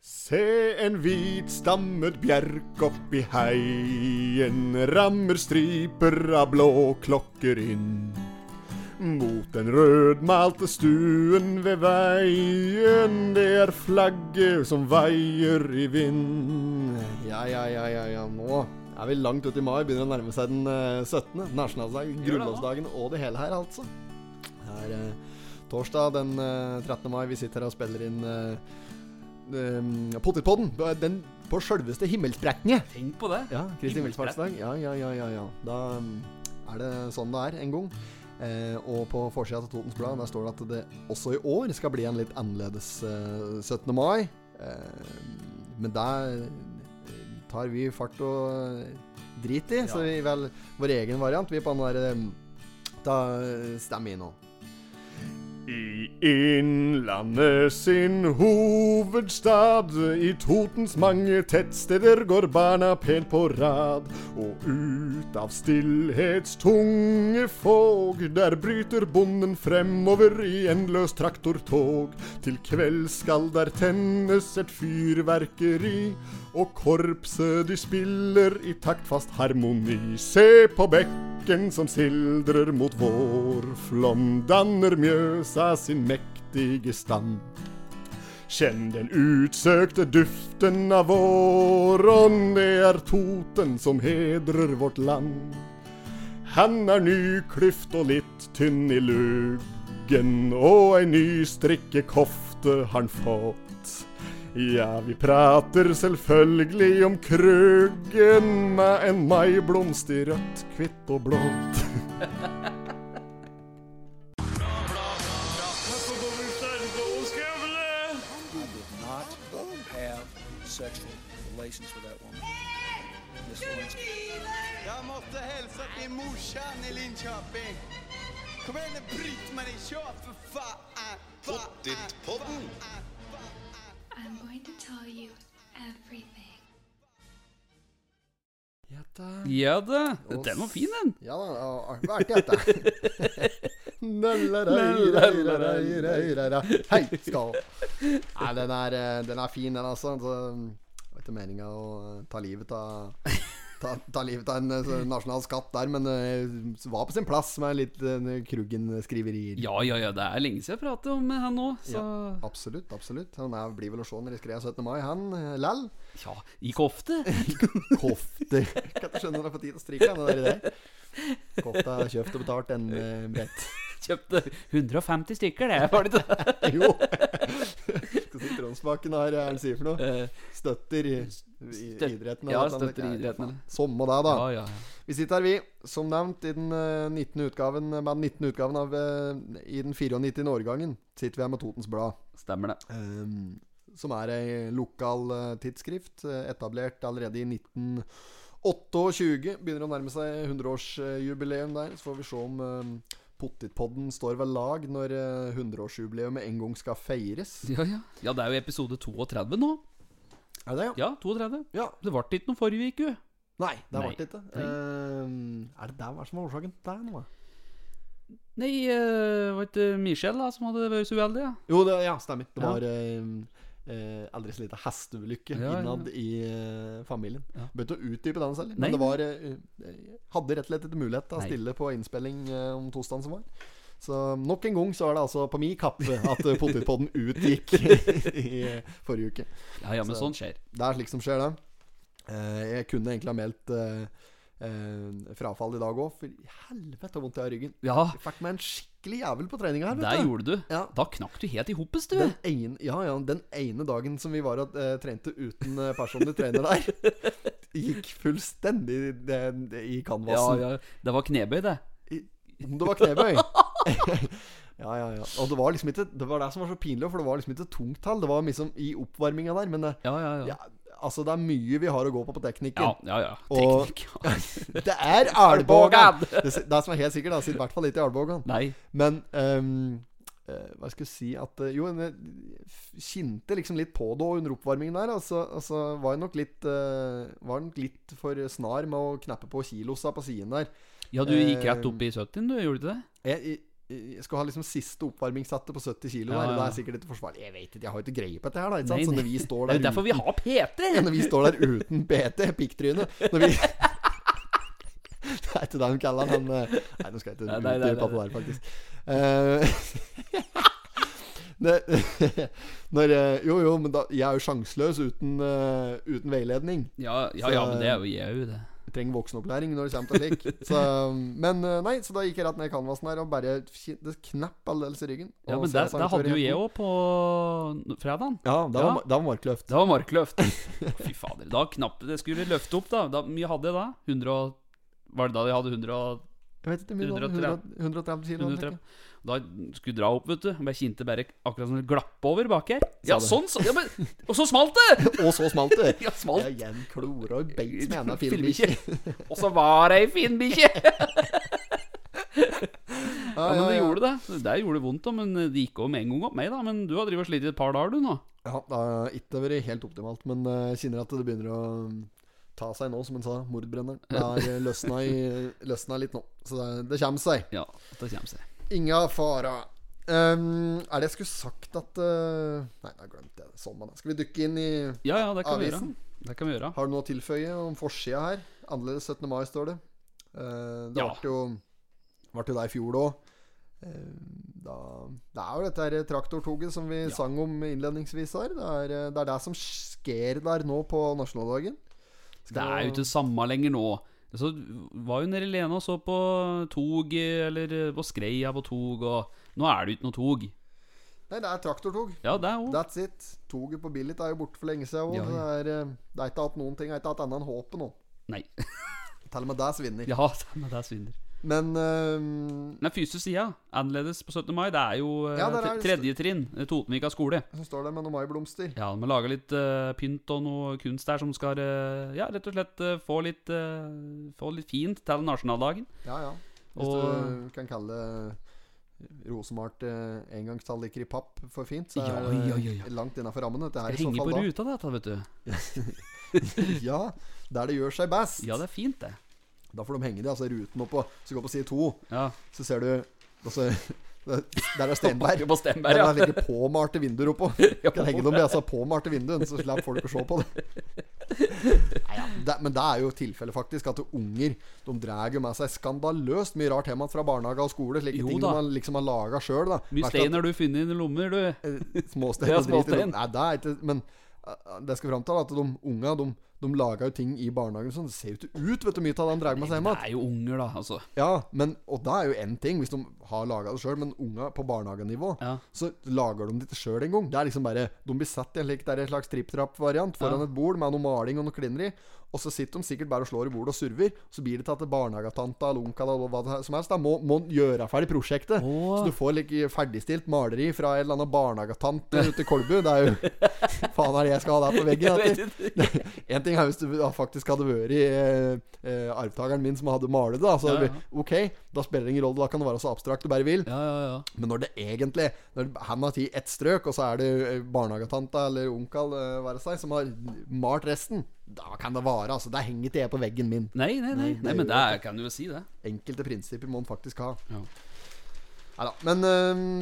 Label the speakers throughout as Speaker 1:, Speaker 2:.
Speaker 1: Se en hvitstammet bjerk oppi heien, rammer striper av blåklokker inn. Mot den rødmalte stuen ved veien, det er flagget som veier i vind. Ja, ja, ja, ja, ja, nå er vi langt ut i mai, begynner å nærme seg den eh, 17. nasjonaldagen,
Speaker 2: Gjør det nå.
Speaker 1: grunnlovsdagen og det hele her, altså. Det er eh, torsdag den eh, 13. mai. Vi sitter her og spiller inn uh, Ehm, Pottitpodden. Den på sjølveste himmelsprekkene.
Speaker 2: Tenk på det.
Speaker 1: Ja, Kristi Himmelsfartsdag. Ja, ja, ja, ja, ja. Da mm, er det sånn det er en gang. Eh, og på forsida av Totens Blad der står det at det også i år skal bli en litt annerledes eh, 17. mai. Eh, men der eh, tar vi fart og eh, drit i, så
Speaker 2: Ja.
Speaker 1: vi vel vår egen variant. Vi på den der eh, Da eh, stemmer vi nå. I Innlandet sin hovedstad, i Totens mange tettsteder går barna pent på rad. Og ut av stillhetstunge fog, der bryter bonden fremover i enløs traktortog. Til kveld skal der tennes et fyrverkeri, og korpset de spiller i taktfast harmoni. Se på bekken. Bekken som sildrer mot vår flom, danner Mjøsa sin mektige stam. Kjenn den utsøkte duften av våren, det er Toten som hedrer vårt land. Han er nyklyft og litt tynn i luggen, og ei nystrikkekofte han fått. Ja, vi prater selvfølgelig om krøggen med en maiblomst i rødt, hvitt og blått.
Speaker 3: not have sexual relations with that woman. Miss Lewinsky.
Speaker 4: Jeg måtte hilse til morsan i Linköping. Kom igjen, Britt-Marie, kjør for faen! Pottitpodden!
Speaker 5: I'm going to tell you everything.
Speaker 2: Ja da. Den var fin, den.
Speaker 1: Ja da, og det var artig dette. Nalaraireirareirara. Hei, skal Nei, den er, eh, den er fin, den altså. Så, mm, Det var ikke meninga å eh, ta livet av Ta, ta livet av en eh, sånn nasjonal skatt der, men det var på sin plass med litt eh, Kruggen-skriverier.
Speaker 2: Ja, ja, ja. Det er lenge siden jeg pratet om han nå, så
Speaker 1: Absolutt, absolutt. Han er, blir vel å se når de skrev 17. mai, han. eh, Lell.
Speaker 2: Ja, gikk ofte.
Speaker 1: Kofter. Kan ikke skjønne når det er på tide å stryke han, det der i det. Kofta er kjøpt og betalt en eh, brett.
Speaker 2: Kjøpte 150 stykker, det. Var det ikke det?
Speaker 1: Jo. Skal si Tronsbakken har Hva er det han sier for noe?
Speaker 2: Eh,
Speaker 1: Støtter i, i
Speaker 2: Støt-
Speaker 1: idretten?
Speaker 2: ja,
Speaker 1: eller noe sånt.
Speaker 2: støtter idretten, eller?
Speaker 1: Samme det, da.
Speaker 2: ja, ja.
Speaker 1: Vi sitter her, vi, som nevnt, i den eh, 19. utgaven med den 19. utgaven av eh, I den 94. årgangen sitter vi her med Totens Blad.
Speaker 2: Stemmer det.
Speaker 1: Ehm, som er ei lokal eh, tidsskrift, eh, etablert allerede i 1928. Begynner å nærme seg 100-årsjubileum der, så får vi se om uh, Pottitpodden står ved lag når eh, 100-årsjubileet med en gang skal feires.
Speaker 2: Ja, ja. ja, det er jo episode 32 nå.
Speaker 1: Er det det, ja?
Speaker 2: Ja, 32.
Speaker 1: Ja.
Speaker 2: Det ble ikke noe forrige uke.
Speaker 1: Nei, det
Speaker 2: Nei.
Speaker 1: ble det ikke. Ehm, er det der hva som er årsaken til det nå? da?
Speaker 2: Nei, eh, var ikke Michelle da som hadde vært så uheldig? Ja.
Speaker 1: Jo, det, ja, stemmer. Det
Speaker 2: Ja.
Speaker 1: var eh, eh, aldri så lite hesteulykke
Speaker 2: Ja, ja.
Speaker 1: innad i eh, familien.
Speaker 2: Ja.
Speaker 1: Begynte å utdype den selv.
Speaker 2: Nei,
Speaker 1: Men det var eh, eh, Hadde rett og slett ikke mulighet til å
Speaker 2: Nei.
Speaker 1: stille på innspilling eh, om tosdagen som var. Så nok en gang så er det altså på min kappe at eh, potetpodden utgikk i eh, forrige uke.
Speaker 2: ja, ja, men
Speaker 1: Så-
Speaker 2: sånn skjer.
Speaker 1: Det er slikt som skjer, det. Eh, jeg kunne egentlig ha meldt eh, eh, frafall i dag òg, for i helvete hvor vondt jeg har i ryggen.
Speaker 2: Ja,
Speaker 1: Jeg fikk meg en skikkelig jævel på treninga her,
Speaker 2: der
Speaker 1: vet du.
Speaker 2: gjorde du.
Speaker 1: Ja,
Speaker 2: Da knakk du helt i hoppes, du.
Speaker 1: den ene, ja, ja, den ene dagen som vi var og eh, trente uten eh, personlig trener der, gikk fullstendig i, det- det- i
Speaker 2: Ja,
Speaker 1: canvasen.
Speaker 2: ja. Det var knebøy, det.
Speaker 1: Om det var knebøy. ja, ja, ja. Og det var liksom ikke Det var det som var så pinlig, for det var liksom ikke tungt tall. Det var liksom i oppvarminga der, men eh,
Speaker 2: Ja, ja, ja.
Speaker 1: ja, altså, det er mye vi har å gå på på teknikken.
Speaker 2: Ja, ja, ja.
Speaker 1: Og-
Speaker 2: Teknikk.
Speaker 1: Det er Albogan! Det, si- det som er helt sikkert, det sitter i hvert fall ikke i Albogan.
Speaker 2: Nei.
Speaker 1: Men ehm, eh, hva skal jeg si at eh, Jo, jeg kjente liksom litt på det også under oppvarmingen der. Og så og så var jeg nok litt eh, Var nok litt for snar med å knappe på kilosa på siden der. Eh,
Speaker 2: Ja, du gikk rett opp i 70, du. Gjorde du ikke det?
Speaker 1: Jeg, jeg, jeg skal ha liksom siste oppvarmingssatte på 70 kg. der,
Speaker 2: Ja,
Speaker 1: og
Speaker 2: ja.
Speaker 1: Det er sikkert ikke forsvarlig. Jeg vet ikke, jeg har jo ikke greie på dette her. da ikke
Speaker 2: Nei,
Speaker 1: sant? Så
Speaker 2: nei.
Speaker 1: når vi står
Speaker 2: Det er
Speaker 1: der
Speaker 2: jo derfor vi har
Speaker 1: ja,
Speaker 2: PT!
Speaker 1: Når vi står der uten BT, pikktryne Når vi Det er ikke det de kaller han men eh, Nei, nå skal jeg ikke
Speaker 2: Nei, nei, nei,
Speaker 1: utdype på
Speaker 2: nei.
Speaker 1: det der, faktisk. Eh, det, når, eh, jo, jo, men da, jeg er jo sjanseløs uten, eh, uten veiledning.
Speaker 2: Ja, ja, ja, men det er jo, jeg er jo det.
Speaker 1: Jeg trenger voksenopplæring når det kommer til slik. Så, men eh, nei, så da gikk jeg rett ned i canvasen her og bare ki- det knapp aldeles i ryggen.
Speaker 2: Ja,
Speaker 1: Og
Speaker 2: men
Speaker 1: så
Speaker 2: det,
Speaker 1: jeg sang
Speaker 2: det hadde jo
Speaker 1: Tore
Speaker 2: jeg
Speaker 1: Jensen.
Speaker 2: òg på fredagen.
Speaker 1: Ja, det
Speaker 2: Ja.
Speaker 1: var, det var markløft.
Speaker 2: Det var markløft. Fy fader. Da knapt det skulle løfte opp, da. da mye hadde jeg da? 100 og, var det da de hadde 100 og
Speaker 1: Jeg vet ikke, mye, 130
Speaker 2: 130.
Speaker 1: 130 kilo.
Speaker 2: 130? Da skulle jeg dra opp, vet du. Men jeg kjente bare akkurat som det glapp over bak her.
Speaker 1: Sa
Speaker 2: Ja,
Speaker 1: det.
Speaker 2: sånn, så, ja, men, Og så smalt det!
Speaker 1: Og så smalt det!
Speaker 2: Ja, smalt.
Speaker 1: Jeg igjen klora og beit med ene
Speaker 2: Filmbikkje.
Speaker 1: filmbikkje.
Speaker 2: Og så var det ei finbikkje! Ja, men det gjorde det. Det der gjorde det vondt, da. Men det gikk over med en gang opp meg, da. Men du har drevet og slitt i et par dager, du, nå.
Speaker 1: Ja, det har ikke vært helt optimalt, men eh, jeg kjenner at det begynner å mm, ta seg nå, som en sa, mordbrenneren. Det har eh, løsna, i, løsna litt nå, så det, det kommer seg.
Speaker 2: Ja, det kommer seg.
Speaker 1: Inga fara. Ehm, er det jeg skulle sagt at eh, Nei, jeg glemte det. Sånn, man. Skal vi dykke inn i
Speaker 2: Ja, ja, det kan vi gjøre.
Speaker 1: Avisen.
Speaker 2: Det kan vi gjøre.
Speaker 1: Har du noe å tilføye om forsida her? Annerledes 17. mai, står det. Eh, det
Speaker 2: Ja.
Speaker 1: ble jo Ble jo det i fjor da. Eh, da Det er jo dette her traktortoget som vi sang om innledningsvis her. Det er, eh, det er det som skjer der nå på nasjonaldagen.
Speaker 2: Det er jo ikke det samme lenger nå. Så var jo nede i Lena og så på tog, eller på Skreia på tog, og nå er det jo ikke noe tog.
Speaker 1: Nei, det er traktortog.
Speaker 2: Ja, det er jo
Speaker 1: That's it. Toget på Billit er jo borte for lenge siden. Ja,
Speaker 2: Ja, ja.
Speaker 1: Det, er, eh, det er ikke hatt noen ting. Det er ikke hatt annet enn håpet nå.
Speaker 2: Nei.
Speaker 1: Til og med det svinner.
Speaker 2: Ja, men det er synder.
Speaker 1: Men eh,
Speaker 2: Den første sida, annerledes på 17. mai, det er jo eh,
Speaker 1: Ja, der er det-
Speaker 2: tredje trinn, eh, Totenvika skole.
Speaker 1: så står det med noen maiblomster.
Speaker 2: Ja, de har laga litt eh, pynt og noe kunst der som skal eh, Ja, rett og slett eh, få litt eh, Få litt fint til nasjonaldagen.
Speaker 1: Ja, ja. Hvis
Speaker 2: Og
Speaker 1: du kan kalle rosemalt eh, engangstallriker i papp for fint, så
Speaker 2: Ja,
Speaker 1: er det
Speaker 2: ja, ja, ja.
Speaker 1: langt innafor rammen. Dette her
Speaker 2: det
Speaker 1: i så
Speaker 2: henger på
Speaker 1: fall
Speaker 2: ruta, dette, vet du.
Speaker 1: da. ja, der det gjør seg best.
Speaker 2: Ja, det er fint, det.
Speaker 1: Da får de henge det, altså ruten oppå. Så går på side to,
Speaker 2: Ja.
Speaker 1: så ser du altså, Der er Steinberg.
Speaker 2: På Stenberg,
Speaker 1: Der
Speaker 2: ja.
Speaker 1: det ligger påmalte vinduer oppå.
Speaker 2: Ja,
Speaker 1: Kan henge dem i altså, påmalte vinduene, så slipper folk å se på det. Nei, ja, det. Men det er jo tilfellet, faktisk, at unger de drar jo med seg skandaløst mye rart hjem igjen fra barnehage og skole. Slike
Speaker 2: Jo
Speaker 1: ting
Speaker 2: da.
Speaker 1: de har- liksom har laga sjøl.
Speaker 2: Mye stein har du funnet i dine lommer, du.
Speaker 1: Eh, Småstein
Speaker 2: Ja,
Speaker 1: og drit i
Speaker 2: småstein.
Speaker 1: det. Nei, det er ikke Men eh, det skal fram til at de unga de, de lager jo ting i barnehagen sånn. Det ser jo ikke ut, vet du, mye av det de drar med seg hjem
Speaker 2: Det
Speaker 1: igjen.
Speaker 2: er jo unger, da, altså.
Speaker 1: Ja, men, og det er jo én ting, hvis de har laga det sjøl, men unga på barnehagenivå,
Speaker 2: Ja.
Speaker 1: så lager de det ikke sjøl engang. Det er liksom bare De blir satt i en slik der en slags tripp-trapp-variant foran
Speaker 2: Ja.
Speaker 1: et bord med noe maling og noe klinner i, og så sitter de sikkert bare og slår i bordet og surver, og så blir det til at barnehagetanta eller onkelen eller hva det som helst da må, må gjøre ferdig prosjektet.
Speaker 2: Åh.
Speaker 1: Så du får like ferdigstilt maleri fra en eller annen barnehagetant ute i Kolbu. Det er jo Faen er det jeg skal ha der på veggen?
Speaker 2: Jeg
Speaker 1: Etter.
Speaker 2: vet ikke.
Speaker 1: En ting er hvis du da faktisk hadde vært eh, eh, arvtakeren min som hadde malet det. Da, så
Speaker 2: Ja,
Speaker 1: hadde det vært, ok, da spiller det ingen rolle, da kan det være så abstrakt du bare vil.
Speaker 2: Ja, ja, ja.
Speaker 1: Men når det egentlig Når han har tatt ett strøk, og så er det eh, barnehagetanta eller onkel eh, være seg, som har malt resten, da kan det vare. Altså, det henger ikke jeg på veggen min.
Speaker 2: Nei, nei, nei.
Speaker 1: det
Speaker 2: nei
Speaker 1: gjør
Speaker 2: men det er, kan du jo si, det.
Speaker 1: Enkelte prinsipper må en faktisk ha.
Speaker 2: Ja.
Speaker 1: Neida. Men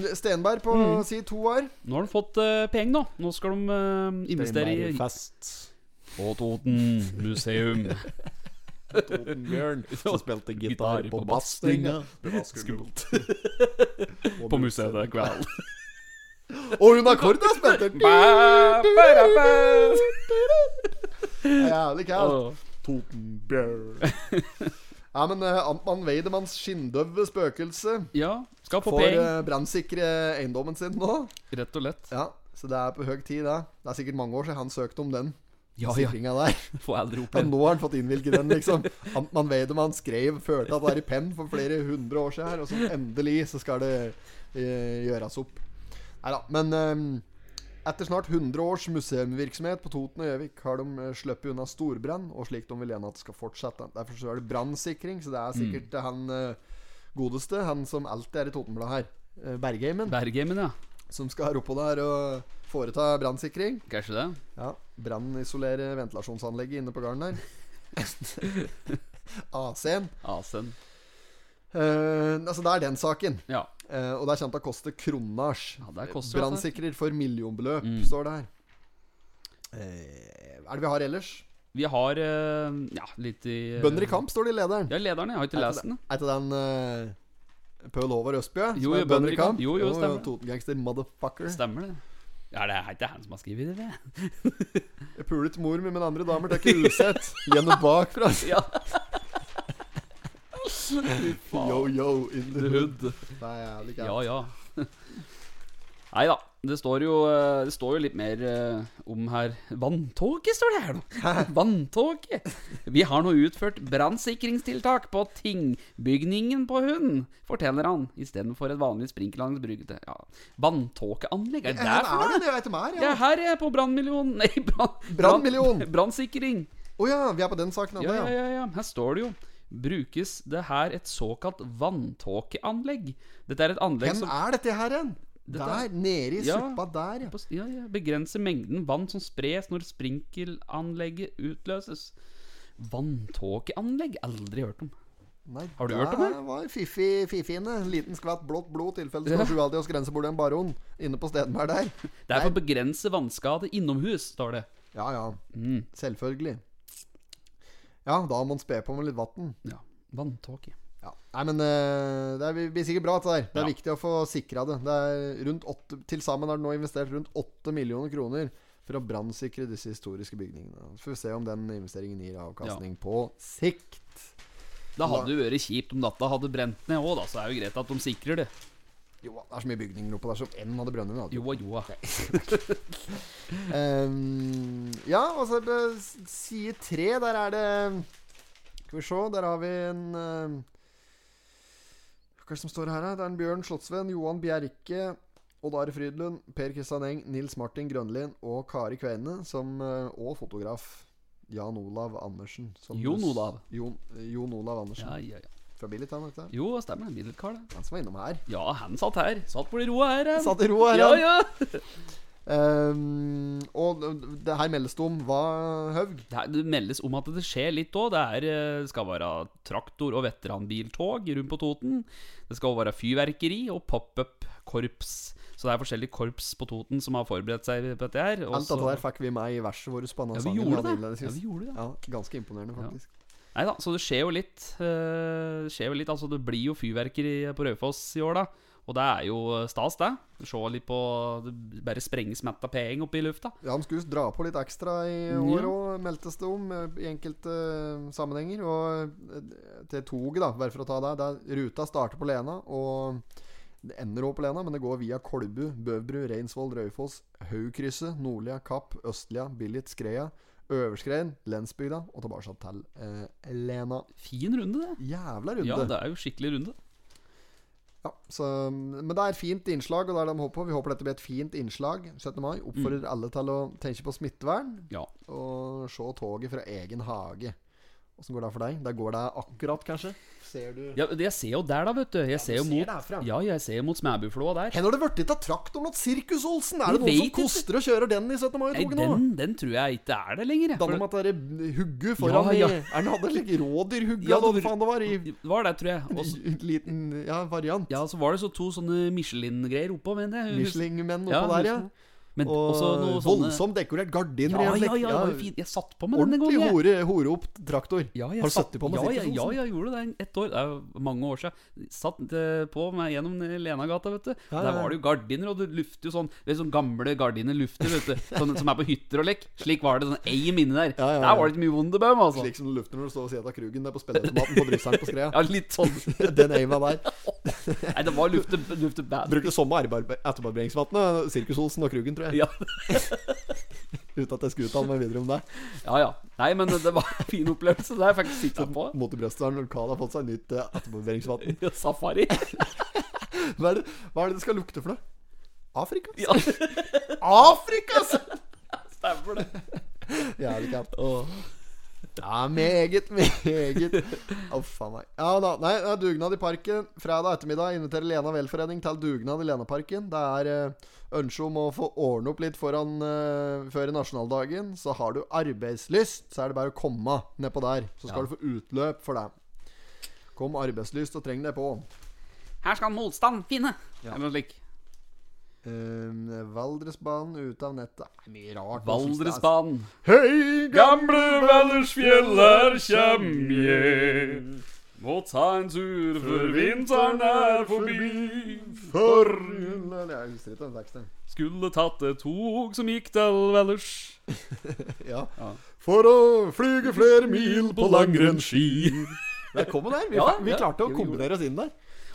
Speaker 1: eh, Stenberg på
Speaker 2: Mm.
Speaker 1: si to år
Speaker 2: Nå har de fått eh, penger, nå. Nå skal de eh, investere i
Speaker 6: Fest.
Speaker 2: På Toten museum.
Speaker 6: Bjørn som spilte
Speaker 2: Gitar
Speaker 6: gitar
Speaker 2: på
Speaker 6: på bassstringa.
Speaker 1: Det var skummelt.
Speaker 2: På museet i kveld.
Speaker 1: Og hun har kord, da, spilte
Speaker 2: Ba, ba, da,
Speaker 1: Jævlig
Speaker 2: ba.
Speaker 1: kælt.
Speaker 2: Åh.
Speaker 1: Totenbjørn. Ja, men eh, Amtmann Weidemanns skinndøve spøkelse
Speaker 2: Ja, skal få
Speaker 1: får
Speaker 2: penger,
Speaker 1: eh, brannsikre eiendommen sin nå.
Speaker 2: rett og lett.
Speaker 1: Ja, Så det er på høy tid, det. Det er sikkert mange år siden han søkte om den
Speaker 2: Ja, ja.
Speaker 1: sikringa der.
Speaker 2: Får aldri
Speaker 1: Men
Speaker 2: oppleve.
Speaker 1: nå har han fått innvilget den, liksom. Amtmann Weidemann skrev, følte at det var i penn for flere hundre år siden her, og så endelig så skal det eh, gjøres opp. Nei da. Men eh, etter snart 100 års museumvirksomhet på Toten og Gjøvik har de eh, sluppet unna storbrann, og slik de vil gjerne at det skal fortsette. Derfor så er det brannsikring, så det er sikkert eh, han eh, godeste, han som alltid er i Totenbladet her, eh, Bergheimen,
Speaker 2: Bergheimen, ja.
Speaker 1: som skal her oppå der og foreta brannsikring.
Speaker 2: Kanskje det.
Speaker 1: Ja, brannisolere ventilasjonsanlegget inne på gården der. AC-en.
Speaker 2: Asen.
Speaker 1: Eh, Eh, altså, det er den saken.
Speaker 2: Ja.
Speaker 1: Eh, og det er kjent å koste kronasj.
Speaker 2: Ja, det Mm. koster det, altså.
Speaker 1: Brannsikrer for millionbeløp, står det her. Eh, hva er det vi har ellers?
Speaker 2: Vi har eh, ja, litt i eh,
Speaker 1: Bønder i kamp, står det i lederen.
Speaker 2: Ja, lederen. Jeg har ikke
Speaker 1: Er
Speaker 2: lest
Speaker 1: ikke
Speaker 2: den.
Speaker 1: det- Er ikke den uh, Paul Håvard Østbø? som
Speaker 2: Jo,
Speaker 1: er
Speaker 2: jo, Bønder i kamp. Jo, jo, stemmer.
Speaker 1: Totengangster, motherfucker.
Speaker 2: Stemmer det? Ja, det er ikke han som har skrevet det. det.
Speaker 1: Jeg pulet mor mi, men andre damer tar ikke usett. Gjennom bakfra.
Speaker 2: Ja.
Speaker 1: Yo, yo, in the hood.
Speaker 2: Hood.
Speaker 1: Det er jævlig gærent.
Speaker 2: Ja, ja. Nei da. Det står jo, eh, det står jo litt mer eh, om her. Vanntåke står det her nå. Vanntåke. Vi har nå utført brannsikringstiltak på tingbygningen på hunden, forteller han, istedenfor et vanlig sprinkleranlegg. Ja. Vanntåkeanlegg, er
Speaker 1: Ja,
Speaker 2: det der
Speaker 1: hva
Speaker 2: for
Speaker 1: er
Speaker 2: noe?
Speaker 1: det? Jeg vet ikke hva det
Speaker 2: Ja,
Speaker 1: er. ja.
Speaker 2: her er jeg på brannmillion Nei, brann-
Speaker 1: Brannmillion.
Speaker 2: brann- Brannsikring.
Speaker 1: Å ja, vi er på den saken ennå,
Speaker 2: Ja, ja,
Speaker 1: ja.
Speaker 2: ja, ja. Her står det jo. Brukes det her et såkalt vanntåkeanlegg? Dette er et anlegg
Speaker 1: Hvem
Speaker 2: som
Speaker 1: er dette her hen?
Speaker 2: Dette er-
Speaker 1: Der, nede i
Speaker 2: Ja.
Speaker 1: suppa der, ja.
Speaker 2: på, s- ja, ja, begrense mengden vann som spres når sprinkelanlegget utløses. Vanntåkeanlegg? Aldri hørt om.
Speaker 1: Nei,
Speaker 2: Har du hørt om
Speaker 1: Der var fiffig, fiffiene. En liten skvatt blått blod, tilfelle
Speaker 2: Ja.
Speaker 1: skal sju alltid hos grensebolig en baron. Inne på Stedenberg der.
Speaker 2: Det er for å begrense vannskade innomhus, står det.
Speaker 1: Ja ja,
Speaker 2: Mm.
Speaker 1: selvfølgelig. Ja, da må en spe på med litt vann.
Speaker 2: Ja, vanntåke.
Speaker 1: Ja. Nei, men eh, det er- blir sikkert bra, dette der. Det er
Speaker 2: Ja.
Speaker 1: viktig å få sikra det. Det er rundt åtte, Til sammen er det nå investert rundt 8 millioner kroner for å brannsikre disse historiske bygningene. Så får vi se om den investeringen gir avkastning på sikt.
Speaker 2: Det hadde jo vært kjipt om dette hadde brent ned òg, da. Så er det jo greit at de sikrer det.
Speaker 1: Jo, det er så mye bygninger oppå der som enn hadde brønnet. da.
Speaker 2: Joa, joa.
Speaker 1: Ehm, ja, og så er det s- side tre, der er det Skal vi se, der har vi en ehm, Hva er det som står her, da? Det er en Bjørn Slottsveen, Johan Bjerke, Odd Are Frydlund, Per Kristian Eng, Nils Martin Grønlin og Kari Kveine, som, eh, og fotograf Jan Olav Andersen. som-
Speaker 2: Jon Olav.
Speaker 1: Jon, eh, Jon Olav Andersen.
Speaker 2: Ja, ja, ja.
Speaker 1: Fra Billit, han, dette.
Speaker 2: Jo, det stemmer det. Middelkar, det.
Speaker 1: Han som var innom her.
Speaker 2: Ja, han satt her. Satt på de roa her. han.
Speaker 1: Satt i ro her,
Speaker 2: Ja,
Speaker 1: han.
Speaker 2: ja.
Speaker 1: Ehm, og det- det her meldes det om hva, Haug?
Speaker 2: Det, er, det meldes om at det skjer litt òg. Det er, eh, det skal være traktor- og veteranbiltog rundt på Toten. Det skal også være fyrverkeri og pop-up-korps. Så det er forskjellige korps på Toten som har forberedt seg på dette her. og
Speaker 1: Alt
Speaker 2: så-
Speaker 1: dette der fikk vi med i verset vårt på denne
Speaker 2: ja, vi
Speaker 1: sangen.
Speaker 2: gjorde
Speaker 1: hadde
Speaker 2: det.
Speaker 1: innledet
Speaker 2: Ja, vi
Speaker 1: sist.
Speaker 2: gjorde det.
Speaker 1: Ja, ganske imponerende, faktisk.
Speaker 2: Neida, så det skjer jo litt. eh, Det skjer jo litt, altså Det blir jo fyrverkeri på Raufoss i år, da. Og det er jo eh, stas, det. Se litt på Det bare sprenges mett av penger opp i lufta.
Speaker 1: Ja, De skulle dra på litt ekstra i år òg, meldtes det om eh, i enkelte eh, sammenhenger. Og eh, til toget, da, bare for å ta det, der ruta starter på Lena, og det ender også på Lena, men det går via Kolbu, Bøvbru, Reinsvoll, Raufoss, Haugkrysset, Nordlia, Kapp, Østlia, Billit, Skreia, Øverskrein, Lensbygda og tilbake til eh, Lena.
Speaker 2: Fin runde, det.
Speaker 1: Jævla runde.
Speaker 2: Ja, det er jo skikkelig runde.
Speaker 1: Ja, så, men det er et fint innslag, og det er det de håper på. Vi håper dette blir et fint innslag 17. mai. Oppfordrer
Speaker 2: Mm.
Speaker 1: alle til å tenke på smittevern
Speaker 2: Ja.
Speaker 1: og se toget fra egen hage. Åssen går det for deg? Der går det akkurat, kanskje? Ser du
Speaker 2: Ja, det- jeg ser jo der, da, vet du. Jeg ser jo
Speaker 1: ser
Speaker 2: mot,
Speaker 1: det herfra.
Speaker 2: ja, jeg ser jo mot Smæbuflåa der.
Speaker 1: Hen har det blitt av traktoren og sirkus, Olsen? Er
Speaker 2: Jeg
Speaker 1: det noen som
Speaker 2: vet ikke.
Speaker 1: koster og kjører den i 17.
Speaker 2: Nei,
Speaker 1: mai-toget nå?
Speaker 2: den, den tror jeg ikke er det lenger.
Speaker 1: Danne
Speaker 2: jeg. For,
Speaker 1: med at det er hugget foran
Speaker 2: Ja, ja.
Speaker 1: i Er det hadde slik rådyrhugge,
Speaker 2: Ja,
Speaker 1: eller hva
Speaker 2: det-
Speaker 1: faen det var? I
Speaker 2: det var det, tror jeg. Og så,
Speaker 1: en liten ja, variant.
Speaker 2: ja, så var det så to sånne Michelin-greier oppå, mener jeg.
Speaker 1: Michelin-menn
Speaker 2: Ja,
Speaker 1: oppå der, ja.
Speaker 2: Michelin. Men
Speaker 1: Og
Speaker 2: også noe sånne
Speaker 1: voldsomt dekorert gardiner.
Speaker 2: Ja, ja,
Speaker 1: i en
Speaker 2: ja,
Speaker 1: vekk-
Speaker 2: det var jo fint. Jeg satt på med den en gang.
Speaker 1: Ordentlig
Speaker 2: jeg.
Speaker 1: hore, horeopp traktor.
Speaker 2: Ja, jeg
Speaker 1: Har du
Speaker 2: satt-
Speaker 1: sittet på sånn? med
Speaker 2: ja, jeg-
Speaker 1: sirkus,
Speaker 2: Ja,
Speaker 1: Olsen?
Speaker 2: jeg gjorde det i ett år. Det er jo mange år siden. Satt eh, på meg gjennom Lenagata, vet du.
Speaker 1: Ja,
Speaker 2: Der
Speaker 1: ja.
Speaker 2: var det jo gardiner, og det lufter jo sånn Det er sånn gamle gardiner lufter, vet du. Sånne som er på hytter og lekk. Slik var det. Sånn aim inni der.
Speaker 1: Ja, ja, ja.
Speaker 2: Der var det ikke mye Wunderbaum, altså.
Speaker 1: Slik som det lufter når du står ved siden av Krugen der på spilleautomaten på Brysselen på Skrea.
Speaker 2: Ja, litt sånn.
Speaker 1: Den aima der.
Speaker 2: Nei, det var lufte, lufte bad.
Speaker 1: Brukte samme arbeid- etterbarberingsvannet, Sirkus-Olsen og Krugen, tror jeg.
Speaker 2: Ja.
Speaker 1: Uten at jeg skulle uttale meg videre om det.
Speaker 2: ja, ja. Nei, men det var en fin opplevelse. Det har jeg faktisk sittet på.
Speaker 1: Mot i brøstet har en lokal har fått seg nytt eh, etterbarberingsvann.
Speaker 2: Ja, Safari.
Speaker 1: Hva, er det- hva er det det skal lukte for noe? Afrika?
Speaker 2: Ja,
Speaker 1: Afrika, altså!
Speaker 2: stemmer det.
Speaker 1: Jævlig kjapt.
Speaker 2: Åh.
Speaker 1: Ja, meget, meget. Å, faen meg. Ja da. Nei, det er dugnad i parken. Fredag ettermiddag inviterer Lena velforening til dugnad i Lenaparken. Det er eh, ønske om å få ordne opp litt foran, eh, før nasjonaldagen. Så har du arbeidslyst, så er det bare å komme nedpå der. Så skal
Speaker 2: Ja.
Speaker 1: du få utløp for det. Kom arbeidslyst og treng deg på.
Speaker 2: Her skal motstand finne.
Speaker 1: Ja.
Speaker 2: Eller noe slik.
Speaker 1: Um, Valdresbanen ut av nettet. Det er Mye rart.
Speaker 2: Valdresbanen.
Speaker 1: Hei,
Speaker 2: Gamle Valdersfjell, her kjem jeg. Må ta en tur før vinteren er forbi.
Speaker 1: for Jeg husker ikke den teksten.
Speaker 2: Skulle tatt et tog som gikk til Valdres.
Speaker 1: Ja.
Speaker 2: Ja.
Speaker 1: For å flyge flere mil på langrennsski.
Speaker 6: Velkommen der. Vi,
Speaker 2: Ja,
Speaker 6: vi
Speaker 2: ja.
Speaker 6: klarte å
Speaker 2: Jo, jo.
Speaker 6: kombinere oss inn der.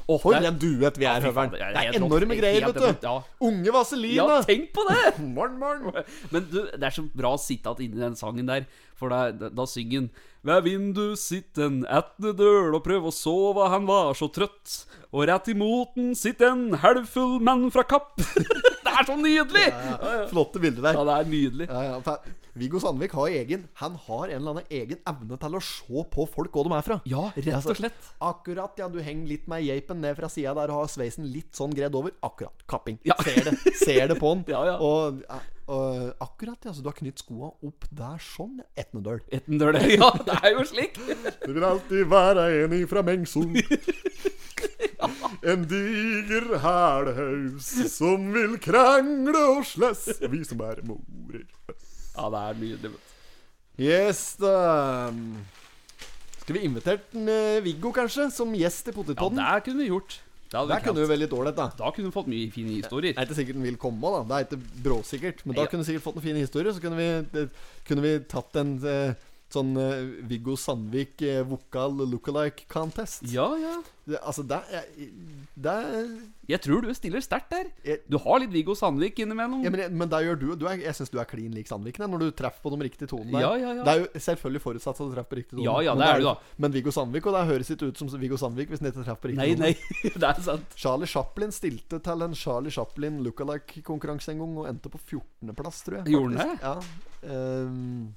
Speaker 2: Oh,
Speaker 6: For en duett vi er, Høveren. Det er enorme greier, vet du.
Speaker 2: Ja.
Speaker 1: Unge
Speaker 2: ja,
Speaker 1: Vaselina.
Speaker 2: tenk på det!
Speaker 1: Morn, morn.
Speaker 2: Men du, det er så bra sittat inni den sangen der, for da, da, da synger han Ved vindu sitten etne døl og prøv å sove, han var så trøtt. Og rett imot den sitter en halvfull mann fra Kapp. det er så nydelig!
Speaker 1: Flotte bilder der.
Speaker 2: Ja, det er nydelig.
Speaker 1: Ja, ja, for Viggo Sandvik har egen Han har en eller annen egen evne til å se på folk hvor de er fra.
Speaker 2: Ja, rett
Speaker 1: Altså,
Speaker 2: og slett.
Speaker 1: Akkurat, ja. Du henger litt med geipen ned fra sida der og har sveisen litt sånn gredd over. Akkurat. Kapping.
Speaker 2: Ja.
Speaker 1: Ser det ser det på han.
Speaker 2: Ja, ja.
Speaker 1: Og, eh, og akkurat, ja. Så du har knytt skoa opp der sånn. ja. Etnedøl.
Speaker 2: Etten døl, ja. Det er jo slik.
Speaker 1: Det vil alltid være en ifra Mengsund. En diger hælhaus som vil krangle og slåss, vi som er morer.
Speaker 2: Ja, det er nydelig. vet du.
Speaker 1: Yes, da Skal vi invitert den, eh, Viggo, kanskje, som gjest i
Speaker 2: Ja,
Speaker 1: Potetpodden?
Speaker 2: det kunne vi gjort. Det hadde
Speaker 1: der
Speaker 2: vi
Speaker 1: kunne
Speaker 2: kunne
Speaker 1: vi vært litt ålreit, da.
Speaker 2: Da kunne vi fått mye fine
Speaker 1: Det
Speaker 2: historier.
Speaker 1: er ikke sikkert den vil komme, da. Det er ikke bråsikkert. Men da
Speaker 2: Ja.
Speaker 1: kunne vi sikkert fått en fin historie. Så kunne vi, det, kunne vi tatt en eh, sånn eh, Viggo Sandvik eh, vokal lookalike contest.
Speaker 2: Ja, ja.
Speaker 1: Det, altså, det er Det er
Speaker 2: Jeg tror du stiller sterkt der.
Speaker 1: jeg,
Speaker 2: Du har litt Viggo Sandvik innimellom.
Speaker 1: ja, men, jeg- men det gjør du. du er, jeg syns du er klin lik Sandvik der, når du treffer på de riktige tonene. der.
Speaker 2: Ja, ja, ja.
Speaker 1: Det er jo selvfølgelig forutsatt at du treffer på riktig tone.
Speaker 2: Ja, ja,
Speaker 1: Men
Speaker 2: det er du da.
Speaker 1: Men Viggo Sandvik, og det høres ikke ut som Viggo Sandvik hvis den ikke treffer på riktig
Speaker 2: Nei,
Speaker 1: tone.
Speaker 2: nei, det er sant.
Speaker 1: Charlie Chaplin stilte til en Charlie Chaplin lookalike-konkurranse en gang og endte på 14.-plass, tror jeg.
Speaker 2: Gjorde
Speaker 1: faktisk.
Speaker 2: han det?
Speaker 1: Ja, ehm,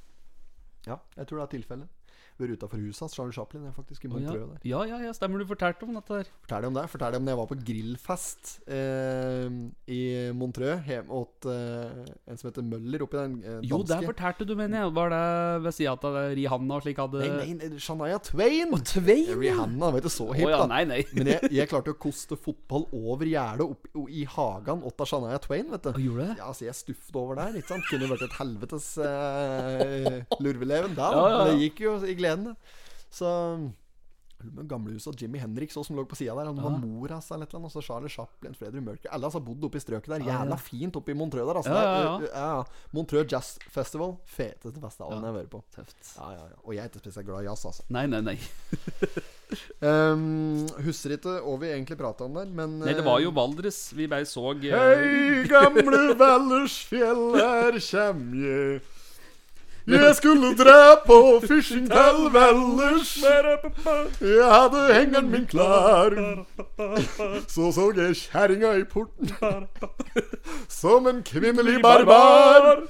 Speaker 1: ja, jeg tror det er tilfellet. Vært utafor huset hans, Charlie Chaplin. Jeg er faktisk i
Speaker 2: Å, ja.
Speaker 1: Montreux der.
Speaker 2: ja, ja, ja, stemmer du fortalte om dette der.
Speaker 1: Fortell om det. Fortell om da jeg var på grillfest ehm, i Montreux, hjemme åt eh, en som heter Møller, oppi den eh, danske
Speaker 2: Jo, der fortalte du, mener jeg. Var det ved sida av det Rihanna og slik hadde
Speaker 1: Nei, nei, nei, Shania Twain!
Speaker 2: Og Twain, ja.
Speaker 1: Rihanna var ikke så
Speaker 2: Å
Speaker 1: hipp,
Speaker 2: ja,
Speaker 1: da.
Speaker 2: nei, nei.
Speaker 1: Men jeg, jeg klarte å koste fotball over gjerdet opp i- i hagen åt av Shania Twain, vet
Speaker 2: Å,
Speaker 1: du.
Speaker 2: gjorde det?
Speaker 1: Ja, altså, jeg stuffet over der, ikke sant? Kunne jo vært et helvetes eh, lurveleven der,
Speaker 2: Ja, ja, ja.
Speaker 1: men det gikk jo i gleden. det. Så med gamlehuset og Jimmy Henrik så, som lå på sida der. Han var mor hans eller et eller annet. Og så Charlie Chaplin, Freddy Mercury Alle altså bodde oppe i strøket der. Jævla fint oppe i Montreux der. Altså,
Speaker 2: Ja, ja, ja.
Speaker 1: Det er, ja, ja. Montreux Jazz Festival. Feteste festivalen jeg har vært på.
Speaker 2: Tøft.
Speaker 1: Ja, ja, ja. Og jeg er ikke spesielt glad i jazz, altså.
Speaker 2: Nei, nei, nei.
Speaker 1: Um, husker ikke hva vi egentlig prata om der, men
Speaker 2: Nei, det var jo Valdres. Vi bare så eh,
Speaker 1: eh, Hei, gamle Vallersfjell, her kjem jeg. Jeg skulle dra på fishing til Valdres. Jeg hadde hengeren min klar. Så så jeg kjerringa i porten. Som en kvinnelig barbar.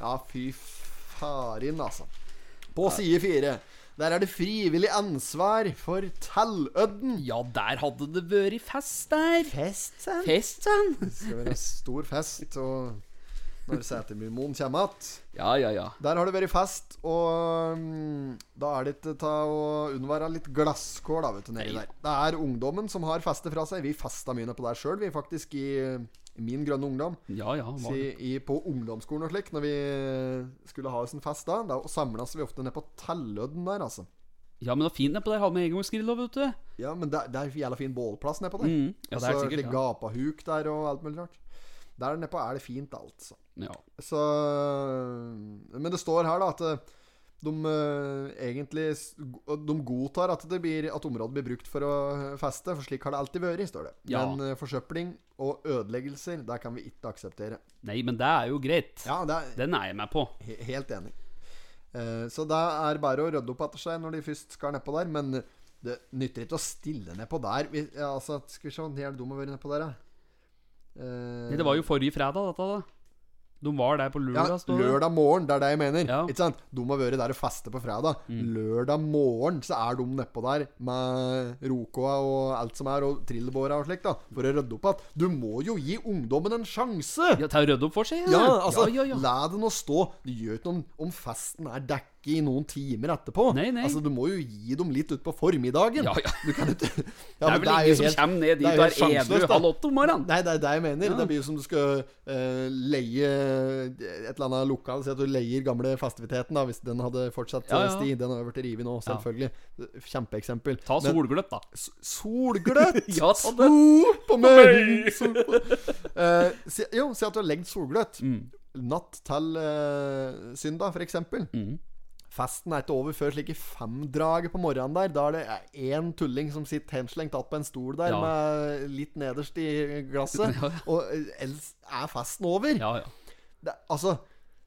Speaker 1: Ja, fy farin, altså. På side fire. Der er det frivillig ansvar for tallødden.
Speaker 2: Ja, der hadde det vært fest der.
Speaker 1: Fest, sen.
Speaker 2: Fest, sann.
Speaker 1: Det skal være en stor fest, og når Setermyrmoen kommer igjen
Speaker 2: Ja, ja, ja.
Speaker 1: Der har det vært fest, og mm, da er det ikke ta å unnvære litt glasskår, da, vet du, nedi
Speaker 2: Nei.
Speaker 1: der. Det er ungdommen som har festet fra seg. Vi festa mye på der sjøl, vi, faktisk, i i min grønne ungdom.
Speaker 2: Ja, ja. han var
Speaker 1: Si,
Speaker 2: det.
Speaker 1: i, på ungdomsskolen og slik, når vi skulle ha oss en fest da, da samles vi ofte ned på Tellødden der, altså.
Speaker 2: Ja, men det var fint nedpå der. Hadde med engangsgrill òg, vet du.
Speaker 1: Ja, men det, det er jævla fin bålplass nedpå der.
Speaker 2: Mm, ja, det er
Speaker 1: Og så
Speaker 2: sikkert,
Speaker 1: slik
Speaker 2: ja.
Speaker 1: gapahuk der og alt mulig rart. Der nedpå er det fint, altså.
Speaker 2: Ja.
Speaker 1: Så øh, Men det står her, da, at eh, de eh, egentlig s- De godtar at, det blir, at området blir brukt for å øh, feste, for slik har det alltid vært, står det.
Speaker 2: Ja.
Speaker 1: Men eh, forsøpling og ødeleggelser, det kan vi ikke akseptere.
Speaker 2: Nei, men det er jo greit.
Speaker 1: Ja, det er
Speaker 2: Den er jeg med på.
Speaker 1: he- helt enig. Eh, Så det er bare å rydde opp etter seg når de først skal nedpå der, men det nytter ikke å stille nedpå der. Vi, ja, altså, skal vi se, hvor er det de har vært nedpå der, da?
Speaker 2: Nei, det var jo forrige fredag, dette, da. De var der på lørdag,
Speaker 1: Ja,
Speaker 2: står det.
Speaker 1: lørdag morgen, det er det jeg mener.
Speaker 2: Ja. Mm.
Speaker 1: Ikke sant? De har vært der og festet på fredag. Lørdag morgen så er de nedpå der med rokoa og alt som er, og trillebåra og slikt, da, for å rydde opp igjen. Du må jo gi ungdommen en sjanse!
Speaker 2: Ja, ta og rydde opp for seg.
Speaker 1: Ja, altså,
Speaker 2: ja, ja, ja.
Speaker 1: la det nå stå. Det gjør ikke noe om festen er dekket i noen timer etterpå.
Speaker 2: Nei, nei.
Speaker 1: Altså, Du må jo gi dem litt utpå formiddagen.
Speaker 2: Ja, ja.
Speaker 1: Du kan ikke ja,
Speaker 2: Det er
Speaker 1: men
Speaker 2: vel
Speaker 1: jo
Speaker 2: ingen som
Speaker 1: helt-
Speaker 2: kommer ned
Speaker 1: det
Speaker 2: dit
Speaker 1: jo
Speaker 2: og
Speaker 1: helt
Speaker 2: er edru
Speaker 1: sjanseløst, da.
Speaker 2: halv åtte om morgenen.
Speaker 1: Nei, det er det jeg mener.
Speaker 2: Ja.
Speaker 1: Det blir jo som du skal eh, leie eh, et eller annet lokal Si at du leier gamle festiviteten, da, hvis den hadde fortsatt
Speaker 2: Ja,
Speaker 1: ja,
Speaker 2: ja.
Speaker 1: sti. Den har jo blitt revet nå,
Speaker 2: Ja.
Speaker 1: selvfølgelig. Kjempeeksempel.
Speaker 2: Ta
Speaker 1: Men-
Speaker 2: solgløtt, da.
Speaker 1: S- Solgløtt!
Speaker 2: Ja, ta det.
Speaker 1: Sol på meg! Sol på Eh, si, jo, si at du har legget solgløtt.
Speaker 2: Mm.
Speaker 1: Natt til eh, søndag, for eksempel.
Speaker 2: Mm.
Speaker 1: Festen er ikke over før slik i femdraget på morgenen der. Da er det én tulling som sitter henslengt att på en stol der,
Speaker 2: Ja.
Speaker 1: med litt nederst i glasset.
Speaker 2: Ja.
Speaker 1: Og eh, ellers er festen over.
Speaker 2: Ja, ja.
Speaker 1: Det, altså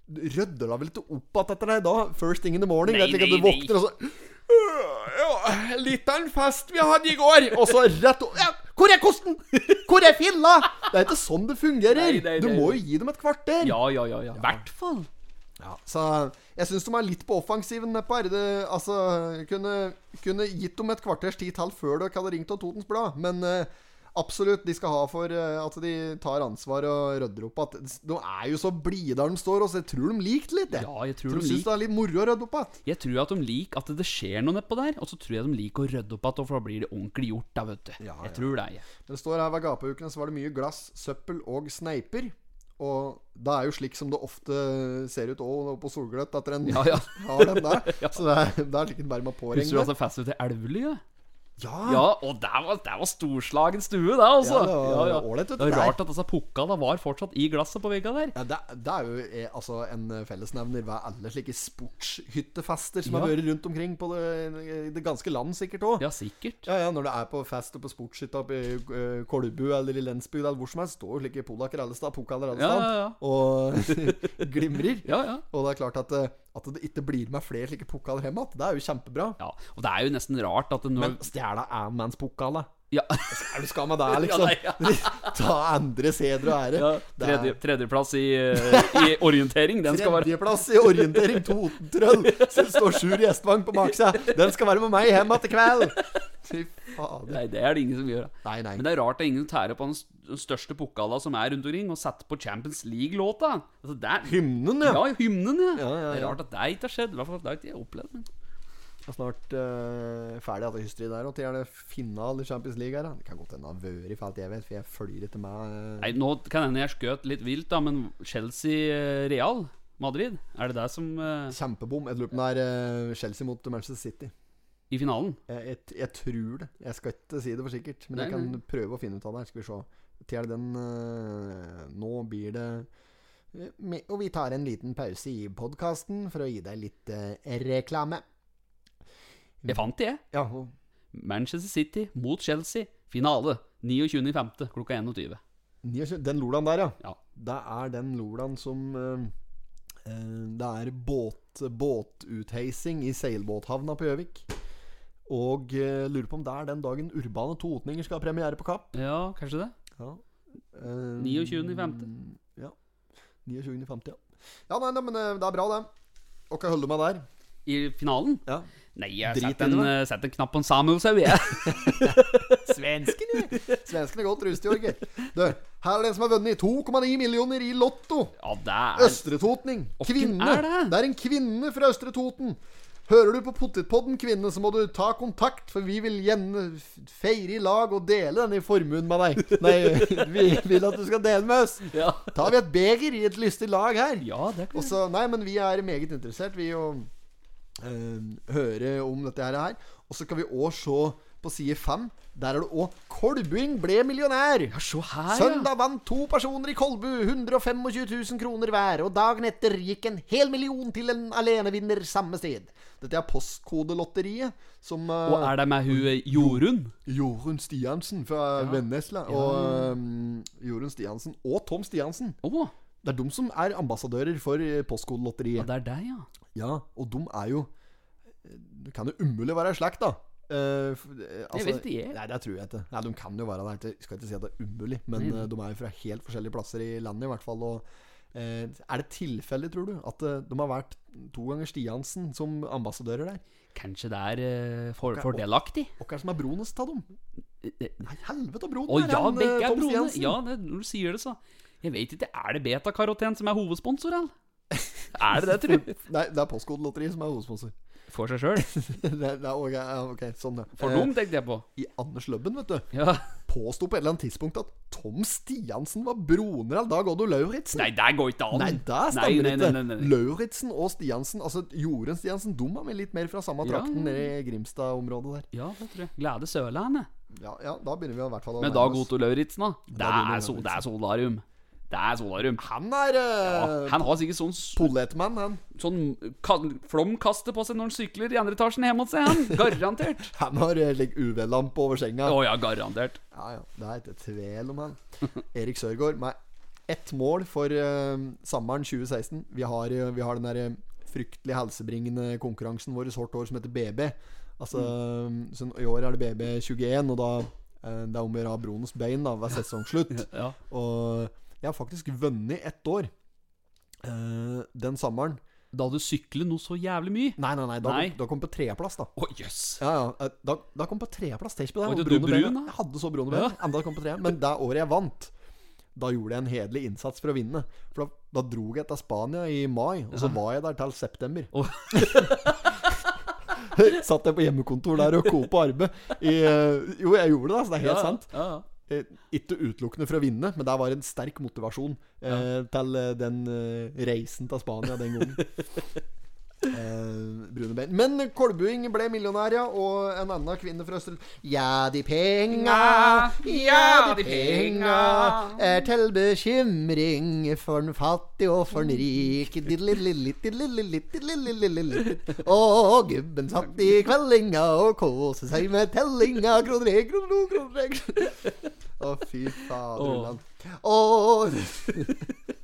Speaker 1: Rydder da vel ikke opp igjen etter deg da? First thing in the morning?
Speaker 2: Nei,
Speaker 1: det er slik at
Speaker 2: nei,
Speaker 1: du våkner og så «Øh, ja, Litt av en fest vi hadde i går! Og så rett opp ja, Hvor er kosten? Hvor er filla? Det er ikke sånn det fungerer.
Speaker 2: Nei, nei,
Speaker 1: du
Speaker 2: nei,
Speaker 1: må
Speaker 2: nei.
Speaker 1: jo gi dem et kvarter.
Speaker 2: Ja, ja, ja. ja. I hvert fall.
Speaker 1: Ja, så jeg syns de er litt på offensiven nedpå her. Det, altså, kunne, kunne gitt dem et kvarters tid til før dere hadde ringt av Totens Blad, men eh, absolutt, de skal ha for eh, at de tar ansvar og rydder opp at De er jo så blide der de står, og så jeg tror de likte litt, jeg.
Speaker 2: Ja, jeg tror
Speaker 1: tror
Speaker 2: de
Speaker 1: de syns
Speaker 2: liker
Speaker 1: det er litt moro å rydde opp igjen.
Speaker 2: Jeg tror at de liker at det skjer noe nedpå der, og så tror jeg de liker å rydde opp igjen, for da blir det ordentlig gjort, da, vet du. Jeg tror det. jeg.
Speaker 1: Når det står her ved gapeukene, så var det mye glass, søppel og sneiper. Og det er jo slik som det ofte ser ut òg på Solgløtt, at en
Speaker 2: Ja, ja.
Speaker 1: har den der. Så det er, det er slik en bare må
Speaker 2: Husker du
Speaker 1: påregne.
Speaker 2: altså festen til Elvely? Ja?
Speaker 1: Ja,
Speaker 2: ja, og der var, der var storslagen stue, da, altså.
Speaker 1: Ja, det var
Speaker 2: ja,
Speaker 1: ålreit, vet
Speaker 2: Det
Speaker 1: du.
Speaker 2: var
Speaker 1: Der.
Speaker 2: rart at altså, pukka da var fortsatt i glasset på vegga der.
Speaker 1: Ja, det, det er jo eh, altså, en fellesnevner ved alle slike sportshyttefester som
Speaker 2: Ja.
Speaker 1: har vært rundt omkring på det, i det ganske land, sikkert òg.
Speaker 2: Ja, sikkert.
Speaker 1: Ja, ja, når det er på fest og på sportshytta oppe i eh, Kolbu eller i Lensbygd eller hvor som helst, står jo slike polakker alle steder, pokaler alle
Speaker 2: Ja,
Speaker 1: steder,
Speaker 2: ja, ja.
Speaker 1: og glimrer.
Speaker 2: Ja, ja.
Speaker 1: Og det er klart at, eh, at det ikke blir med flere slike pokaler hjemme igjen. Det er jo kjempebra.
Speaker 2: Ja, og det er jo nesten rart at det nå
Speaker 1: Men stjela Amans-pokalet.
Speaker 2: ja,
Speaker 1: Er du skam av deg, liksom?
Speaker 2: nei, ja.
Speaker 1: Ta andres heder og ære.
Speaker 2: ja,
Speaker 1: Det er-
Speaker 2: tredje, Tredjeplass i, eh, i orientering, den skal være
Speaker 1: Tredjeplass i orientering Totentrøll. Så det står Sjur Gjestvang på baksida. Den skal være med meg hjem til kveld. Fy fader.
Speaker 2: Nei, det er det ingen som gjør. da.
Speaker 1: Nei, nei.
Speaker 2: Men det er rart det er ingen som tærer på den st- den største pokala som er rundt omkring, og setter på Champions League-låta. Altså, det er
Speaker 1: Hymnen,
Speaker 2: ja.
Speaker 1: ja.
Speaker 2: hymnen, ja.
Speaker 1: Ja, ja,
Speaker 2: Det er
Speaker 1: ja.
Speaker 2: rart at det ikke har skjedd. I hvert fall det har ikke jeg opplevd. men-
Speaker 1: Jeg er Snart eh, ferdig etter hysteri der. Og til gjerne finale i Champions League her. da. Det kan godt hende han har vært i felt, jeg vet, for jeg følger etter meg. eh.
Speaker 2: Nei, nå kan hende jeg skjøt litt vilt, da, men Chelsea-Real Madrid, er det det som eh,
Speaker 1: Kjempebom. Jeg lurer på om det er eh, Chelsea mot Manchester City.
Speaker 2: I finalen?
Speaker 1: Jeg, jeg, jeg tror det. Jeg skal ikke si det for sikkert, men jeg
Speaker 2: Nei,
Speaker 1: kan
Speaker 2: nei.
Speaker 1: prøve å finne ut av det. her. Skal vi se. Til den eh, Nå blir det eh, me- Og vi tar en liten pause i podkasten for å gi deg litt eh, reklame.
Speaker 2: Jeg fant det, jeg.
Speaker 1: Ja, og-
Speaker 2: Manchester City mot Chelsea. Finale 29.5. klokka 21.
Speaker 1: 29 den lolaen der, ja.
Speaker 2: Ja.
Speaker 1: Det er den lolaen som eh, eh, Det er båt, båtutheising i seilbåthavna på Gjøvik. Og eh, lurer på om det er den dagen Urbane Totninger skal ha premiere på Kapp.
Speaker 2: Ja, kanskje det?
Speaker 1: Ja. Eh,
Speaker 2: 29.5..
Speaker 1: Ja. 29.5., ja. Ja, nei, nei, men eh, det er bra, det. Og hva holder du meg der?
Speaker 2: I finalen?
Speaker 1: Ja.
Speaker 2: Nei, jeg
Speaker 1: Drit
Speaker 2: setter
Speaker 1: i det,
Speaker 2: en,
Speaker 1: da.
Speaker 2: eh, setter en knapp på en Samuelshaug, jeg.
Speaker 1: Svenskene! Svenskene er godt rustet, Jorger. Du, her er det en som har vunnet 2,9 millioner i Lotto.
Speaker 2: Ja, det er
Speaker 1: Østre Totning.
Speaker 2: Åkken
Speaker 1: Kvinne.
Speaker 2: er det?
Speaker 1: er en kvinne fra Østre Toten. Hører du på Potetpodden, kvinne, så må du ta kontakt, for vi vil gjerne f- feire i lag og dele denne formuen med deg. Nei, vi vil at du skal dele med oss.
Speaker 2: Ja,
Speaker 1: Tar vi et beger i et lystig lag her?
Speaker 2: ja det
Speaker 1: Og
Speaker 2: kan
Speaker 1: så, nei, men vi er meget interessert Vi å eh, høre om dette her, her. Og så kan vi også se på side 5 Der er det også Kolbuing ble millionær
Speaker 2: Ja, se her, ja.
Speaker 1: Søndag vant to personer i Kolbu 125 000 kroner hver Og dagen etter gikk en hel million til en alenevinner samme sted Dette er postkodelotteriet Som eh,
Speaker 2: Og er det med hun eh, Jorunn?
Speaker 1: Jorunn Stiansen fra Vennesla Og eh, Jorunn Stiansen og Tom Stiansen
Speaker 2: Å,
Speaker 1: Det er de som er ambassadører for eh,
Speaker 2: ja,
Speaker 1: postkodelotteriet
Speaker 2: det er deg, ja.
Speaker 1: ja, og de er jo Det kan jo umulig være i slekt, da. Eh, f- eh,
Speaker 2: vet ikke jeg.
Speaker 1: Nei, det tror jeg ikke. Nei, De kan jo være der. Jeg skal ikke si at det er umulig, men eh, de er jo fra helt forskjellige plasser i landet, i hvert fall. Og Eh, er det tilfeldig, tror du, at eh, de har vært to ganger Stiansen som ambassadører der?
Speaker 2: Kanskje det er eh, for, fordelaktig?
Speaker 1: Og hva er det som er bronest av dem? Nei, helvete, broen
Speaker 2: Å
Speaker 1: er
Speaker 2: ja,
Speaker 1: han, eh,
Speaker 2: begge er
Speaker 1: Tom
Speaker 2: broene.
Speaker 1: Stiansen.
Speaker 2: Ja, det, når du sier det, så. Jeg vet ikke. Er det Betakaroten som er hovedsponsor, eller? Er det det, tror du?
Speaker 1: Nei, det er Postkodelotteriet som er hovedsponsor.
Speaker 2: For seg sjøl.
Speaker 1: det, er- det er, ok, ja, ok, sånn, ja.
Speaker 2: For
Speaker 1: Eh,
Speaker 2: dem, tenkte jeg på.
Speaker 1: I Anders Løbben, vet du,
Speaker 2: Ja.
Speaker 1: påsto på et eller annet tidspunkt at Tom Stiansen var broner av Dag Oddo Lauritzen.
Speaker 2: Nei, det går ikke an.
Speaker 1: Nei, det
Speaker 2: Nei,
Speaker 1: stemmer
Speaker 2: nei,
Speaker 1: ikke.
Speaker 2: nei, nei, nei.
Speaker 1: Lauritzen og Stiansen, altså Jorunn Stiansen, de er med litt mer fra samme
Speaker 2: Ja,
Speaker 1: trakten
Speaker 2: ja,
Speaker 1: nede i Grimstad-området der.
Speaker 2: Ja, det tror jeg. Glade Sørlandet.
Speaker 1: Ja, ja, da begynner vi i hvert fall å
Speaker 2: Men
Speaker 1: nærme
Speaker 2: Dag
Speaker 1: oss.
Speaker 2: Otto Lauritzen, da. altså. Det
Speaker 1: begynner
Speaker 2: er, so, det er solarium. Det er solarium.
Speaker 1: Han er
Speaker 2: Ja,
Speaker 1: uh,
Speaker 2: han har sikkert sånn, s-
Speaker 1: Polletmann, han.
Speaker 2: sånn ka- flomkaste på seg når han sykler i andre etasjen hjemme hos seg, han. Garantert.
Speaker 1: Han har eh, like, UV-lampe over senga.
Speaker 2: Å ja, garantert.
Speaker 1: Ja, ja, Det er ikke tvil om han. Erik Sørgaard med ett mål for eh, sommeren 2016. Vi har, eh, vi har den der eh, fryktelig helsebringende konkurransen vår i sort år som heter BB. Altså,
Speaker 2: Mm.
Speaker 1: så I år er det BB21, og da eh, det er om å gjøre å ha Bronos bein da, ved sesongslutt.
Speaker 2: Ja.
Speaker 1: Og jeg har faktisk vunnet ett år. Eh, den sommeren.
Speaker 2: Da du sykler noe så jævlig mye.
Speaker 1: Nei, nei, nei. Da,
Speaker 2: Nei.
Speaker 1: da kom på tredjeplass, da.
Speaker 2: Å jøss.
Speaker 1: Ja, ja. eh, Da, da kom på treplass Teshby.
Speaker 2: Var
Speaker 1: Jeg
Speaker 2: ikke du brun, da?
Speaker 1: Jeg hadde så brune ben. Enda kom på tre. Men det året jeg vant, da gjorde jeg en hederlig innsats for å vinne. For da, da dro jeg til Spania i mai, og så var jeg der til september.
Speaker 2: Åh.
Speaker 1: Satt jeg på hjemmekontor der og kopa arbeid. I, eh, jo, jeg gjorde det, så det er helt sant.
Speaker 2: Ja, ja.
Speaker 1: Eh, Ikke utelukkende for å vinne, men det var en sterk motivasjon eh, til eh, den eh, reisen til Spania den gangen. Eh, brune bein. Men Kolbuing ble millionær, ja. Og en annen kvinne fra Østerl... Ja, de penga, ja, de penga er til bekymring for den fattige og for den rike. Og gubben satt i kveldinga og kåse seg med tellinga. Kroner én, kroner to, kroner tre kroner- å, fy fader.
Speaker 2: Åh.
Speaker 1: Ulland. Åh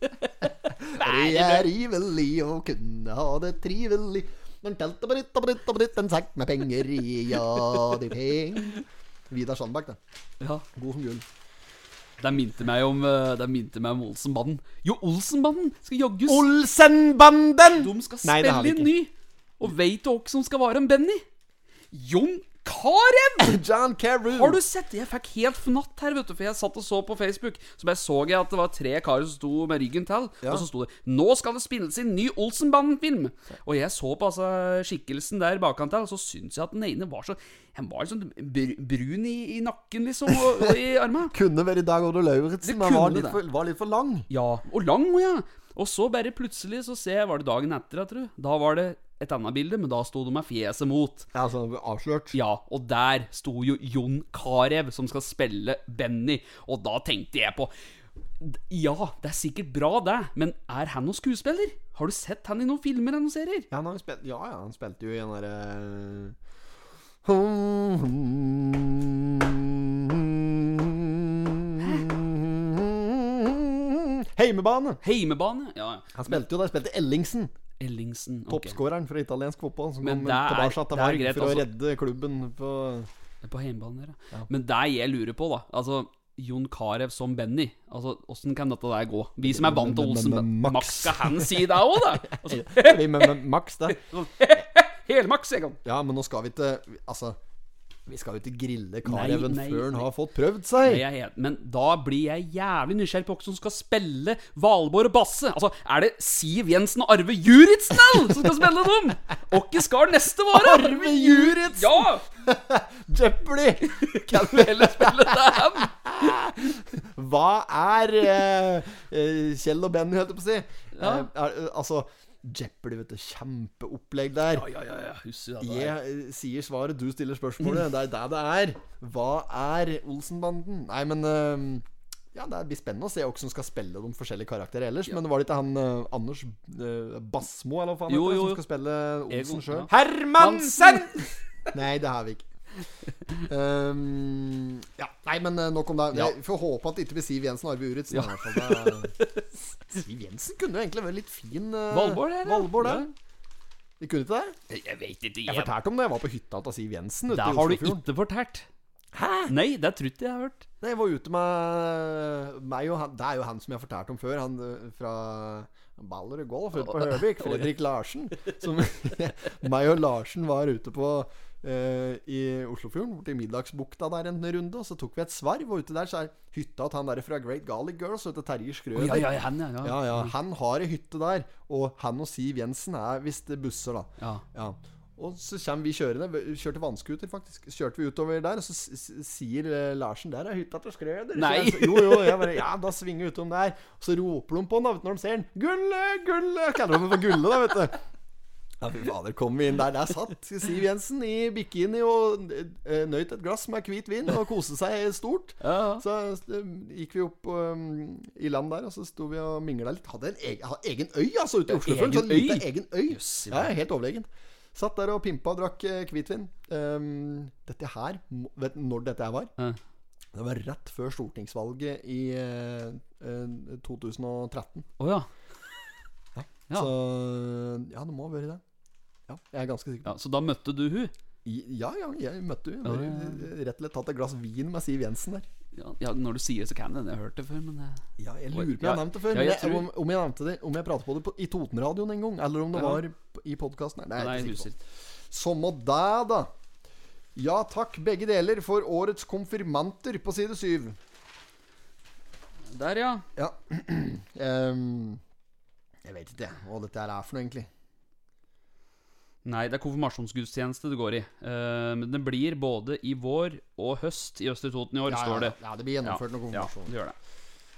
Speaker 1: Det er ivelig å kunne ha det trivelig. Men telt og britt og britt og britt en sekk med penger i, ja, de peng. Vidar Sandberg, det.
Speaker 2: ja.
Speaker 1: God som gull.
Speaker 2: Det minte meg om eh, Det minte meg om Olsenbanden. Jo, Olsenbanden skal jaggu s-
Speaker 1: Olsenbanden!
Speaker 2: De skal
Speaker 1: Nei, det har vi
Speaker 2: spille inn ny. Og veit du hvem som skal være en Benny? Jon Carew!
Speaker 1: John Carew.
Speaker 2: Har du sett? Jeg fikk helt fnatt her, vet du, for jeg satt og så på Facebook. Så bare så jeg at det var tre karer som sto med ryggen til, og så sto det 'Nå skal det spilles inn ny Olsenbanden-film'. Og jeg så på altså skikkelsen der bakan til, og så syns jeg at den ene var så Han var sånn br brun i, i nakken, liksom, og, og i armene.
Speaker 1: Kunne vært Dag Oddo Lauritzen,
Speaker 2: Det
Speaker 1: men var
Speaker 2: kunne
Speaker 1: litt,
Speaker 2: det.
Speaker 1: for, var litt for lang.
Speaker 2: Ja, og lang, å ja. Og så bare plutselig så ser jeg Var det dagen etter, jeg tror? Da var det et annet bilde, men da sto de med fjeset mot.
Speaker 1: Ja, altså, avslørt.
Speaker 2: Ja, og der sto jo Jon Carew, som skal spille Benny, og da tenkte jeg på d- Ja, det er sikkert bra, det, men er han noen skuespiller? Har du sett han i noen filmer eller noen serier?
Speaker 1: Ja, han har jo spilt, ja, ja, han spilte jo i den eh, derre Heimebane!
Speaker 2: Heimebane? Ja, ja.
Speaker 1: Han spilte jo der, spilte Ellingsen.
Speaker 2: Ellingsen. ok.
Speaker 1: Toppskåreren for italiensk fotball. Som
Speaker 2: Men
Speaker 1: kom
Speaker 2: det er-
Speaker 1: tilbake til
Speaker 2: det er
Speaker 1: Varg
Speaker 2: greit,
Speaker 1: for å
Speaker 2: altså.
Speaker 1: redde klubben på
Speaker 2: På heimebane, ja. Men det jeg lurer på, da Altså, Jon Carew som Benny. Altså, Åssen kan dette der gå? Vi som er vant til Olsen
Speaker 1: Max.
Speaker 2: Max, skal han si det òg, da? Altså,
Speaker 1: Vi med, med Max, det.
Speaker 2: Hele Max, jeg kan.
Speaker 1: Ja, men nå skal vi ikke Altså, vi skal jo ikke grille
Speaker 2: Nei,
Speaker 1: Kareven
Speaker 2: nei,
Speaker 1: før han
Speaker 2: nei.
Speaker 1: har fått prøvd seg.
Speaker 2: Det er helt- Men da blir jeg jævlig nysgjerrig på hvem som skal spille Valborg og Basse. Altså, Er det Siv Jensen og Arve Juritzen all, som skal spille dem? Hvem skal neste være?
Speaker 1: Arve Juritzen!
Speaker 2: Ja!
Speaker 1: Jeopardy!
Speaker 2: Kan vi heller spille det hem?
Speaker 1: Hva er eh, eh, Kjell og Benny, holdt jeg på å si?
Speaker 2: Ja.
Speaker 1: Eh, er, eh, altså, Jeopardy, vet du. Kjempeopplegg der.
Speaker 2: Ja, ja, ja. Husk det.
Speaker 1: Jeg eh, sier svaret, du stiller spørsmålet. Det er det det er. Hva er Olsenbanden? Nei, men eh, Ja, det blir spennende å se hvem som skal spille de forskjellige karakterene ellers. Men var det ikke han eh, Anders eh, Basmo, eller hva faen
Speaker 2: Jo,
Speaker 1: heter det, som
Speaker 2: jo, jo.
Speaker 1: skal spille
Speaker 2: Egon,
Speaker 1: Olsen sjøl?
Speaker 2: ja.
Speaker 6: Hermansen!
Speaker 1: Nei, det har vi ikke. Ehm, ja, nei, men eh, nok om det. Jeg får håpe at det ikke blir Siv Jensen og Arve Uritz. i hvert fall. Det er- Siv Jensen kunne jo egentlig vært litt fin. eh,
Speaker 2: Valborg, det, da.
Speaker 1: Valborg, det.
Speaker 2: Ja.
Speaker 1: Vi kunne ikke det?
Speaker 2: Jeg vet ikke.
Speaker 1: Jeg
Speaker 2: Jeg
Speaker 1: fortalte om det. Jeg var på hytta til Siv Jensen. ute i
Speaker 2: det har du
Speaker 1: Oslofjorden.
Speaker 2: ikke fortalt.
Speaker 6: Hæ?
Speaker 2: Nei, det er trutt jeg har hørt.
Speaker 1: Nei, jeg var ute med meg og han Det er jo han som jeg fortalte om før. Han eh, fra Ballerud Golf ute på Høvik. Fredrik Larsen. Som meg og Larsen var ute på eh, i Oslofjorden, til Middagsbukta der en runde. Og så tok vi et svarv, og ute der så er hytta til han der fra Great Garlic Girls, vet du, Terje Skrøder.
Speaker 2: Ja, ja, ja, han, ja, ja.
Speaker 1: Ja, ja. Han har ei hytte der, og han og Siv Jensen er visst busser, da.
Speaker 2: Ja.
Speaker 1: Og så kommer vi kjørende. Vi Kjørte vannskuter, faktisk. Så kjørte vi utover der, og så s- s- sier eh, Larsen 'Der er hytta til Skrøder'.
Speaker 2: Nei.
Speaker 1: Så jeg, jo, jo. Jeg bare, ja, da svinger vi utom der. Og så roper de på han da, vet du, når de ser han. 'Gulle, Gulle!' Kaller de ham for Gulle, da, vet du. Ja, fy fader, kom vi inn der. Der satt Siv Jensen i bikini og eh, nøyt et glass med hvit vin og koste seg stort.
Speaker 2: Ja, ja.
Speaker 1: Så eh, gikk vi opp um, i land der, og så sto vi og mingla litt. Hadde en egen, hadde egen øy, altså, ute i Oslofjorden.
Speaker 2: egen
Speaker 1: Sånn lite
Speaker 2: øy?
Speaker 1: egen øy. Ja, helt overlegen. Satt der og pimpa og drakk eh, hvitvin. Um, dette her må- Vet du når dette her var?
Speaker 2: Ja.
Speaker 1: Det var rett før stortingsvalget i eh, eh, 2013.
Speaker 2: Å ja. Ja.
Speaker 1: Så ja, det må ha vært det. Ja, jeg er ganske sikker. på det.
Speaker 2: ja. Så da møtte du hun?
Speaker 1: I- Ja, ja, jeg møtte jo
Speaker 2: Ja,
Speaker 1: bare,
Speaker 2: ja,
Speaker 1: eh, rett og slett tatt et glass vin med Siv Jensen der.
Speaker 2: Ja, ja, når du sier det, så kan det hende jeg har hørt det før, men eh,
Speaker 1: Ja, jeg lurer på om jeg
Speaker 2: Ja,
Speaker 1: har nevnt det før.
Speaker 2: ja,
Speaker 1: men
Speaker 2: jeg
Speaker 1: jeg,
Speaker 2: tror-
Speaker 1: om, om jeg nevnte det Om jeg pratet på det på, i Totenradioen en gang, eller om det
Speaker 2: Ja.
Speaker 1: var p- i podkasten. Nei,
Speaker 2: Nei,
Speaker 1: jeg er
Speaker 2: jeg
Speaker 1: ikke sikker
Speaker 2: husker
Speaker 1: på.
Speaker 2: ikke.
Speaker 1: Som og dæ, da. Ja takk, begge deler, for årets konfirmanter på side syv.
Speaker 2: Der, ja.
Speaker 1: Ja. Ehm, jeg vet ikke jeg, hva dette her er for noe, egentlig.
Speaker 2: Nei, det er konfirmasjonsgudstjeneste det går i. Eh, men det blir både i vår og høst i Østre Toten i år,
Speaker 1: Ja, ja,
Speaker 2: står det.
Speaker 1: ja, det blir gjennomført noen
Speaker 2: ja,
Speaker 1: konfirmasjoner.
Speaker 2: det gjør det.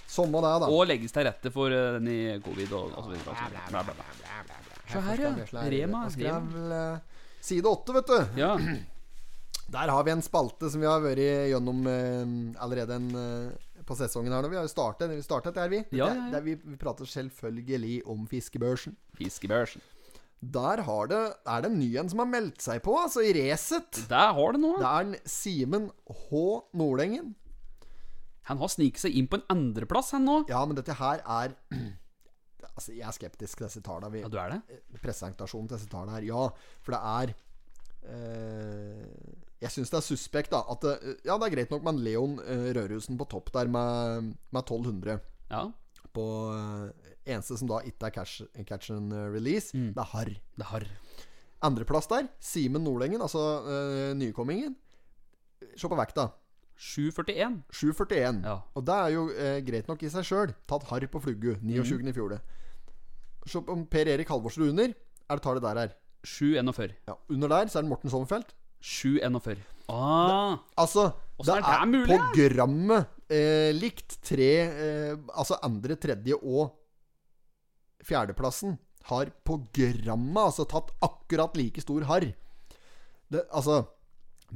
Speaker 1: Som og dæ, da.
Speaker 2: Og legges til rette for eh, den i covid og, og så videre. Og så videre. Bla, bla, bla. Se her, ja. Rema.
Speaker 1: Jeg
Speaker 2: Rema.
Speaker 1: skrev eh, side åtte, vet du.
Speaker 2: Ja.
Speaker 1: Der har vi en spalte som vi har vært gjennom eh, allerede en, eh, på sesongen her nå. Vi har jo startet, vi startet det her, vi.
Speaker 2: Ja,
Speaker 1: Det-
Speaker 2: ja, ja.
Speaker 1: Der vi, vi prater selvfølgelig om fiskebørsen.
Speaker 2: Fiskebørsen.
Speaker 1: Der har det, er det en ny en som har meldt seg på, altså i racet.
Speaker 2: Der har det
Speaker 1: Det
Speaker 2: noe.
Speaker 1: er en Simen H. Nordengen.
Speaker 2: Han har sniket seg inn på en andreplass, han nå.
Speaker 1: Ja, men dette her er Altså, jeg er skeptisk til disse tallene. Vi,
Speaker 2: Ja, du er det?
Speaker 1: presentasjonen til disse tallene her. Ja, for det er eh, Jeg syns det er suspekt, da. At det, ja, det er greit nok med en Leon eh, Rødhusen på topp der med, med 1200.
Speaker 2: Ja.
Speaker 1: På eh, eneste som da ikke er catch, catch and release,
Speaker 2: Mm.
Speaker 1: det er harr.
Speaker 2: Det har.
Speaker 1: Andreplass der, Simen Nordengen, altså eh, nykommingen. Se på vekta.
Speaker 2: 741.
Speaker 1: 7,41.
Speaker 2: Ja.
Speaker 1: Og det er jo eh, greit nok i seg sjøl. Tatt harr på fluggu. 29. i fjor. det. Se på Per Erik Halvorsen under. Er det tallet der her?
Speaker 2: 741.
Speaker 1: Ja, Under der så er det Morten Sommerfelt.
Speaker 2: 741. Ah,
Speaker 1: Altså, det
Speaker 2: Åssen
Speaker 1: er,
Speaker 2: er det mulig,
Speaker 1: på grammet eh, likt tre eh, Altså andre, tredje og fjerdeplassen har på grammet altså tatt akkurat like stor harr. Det, altså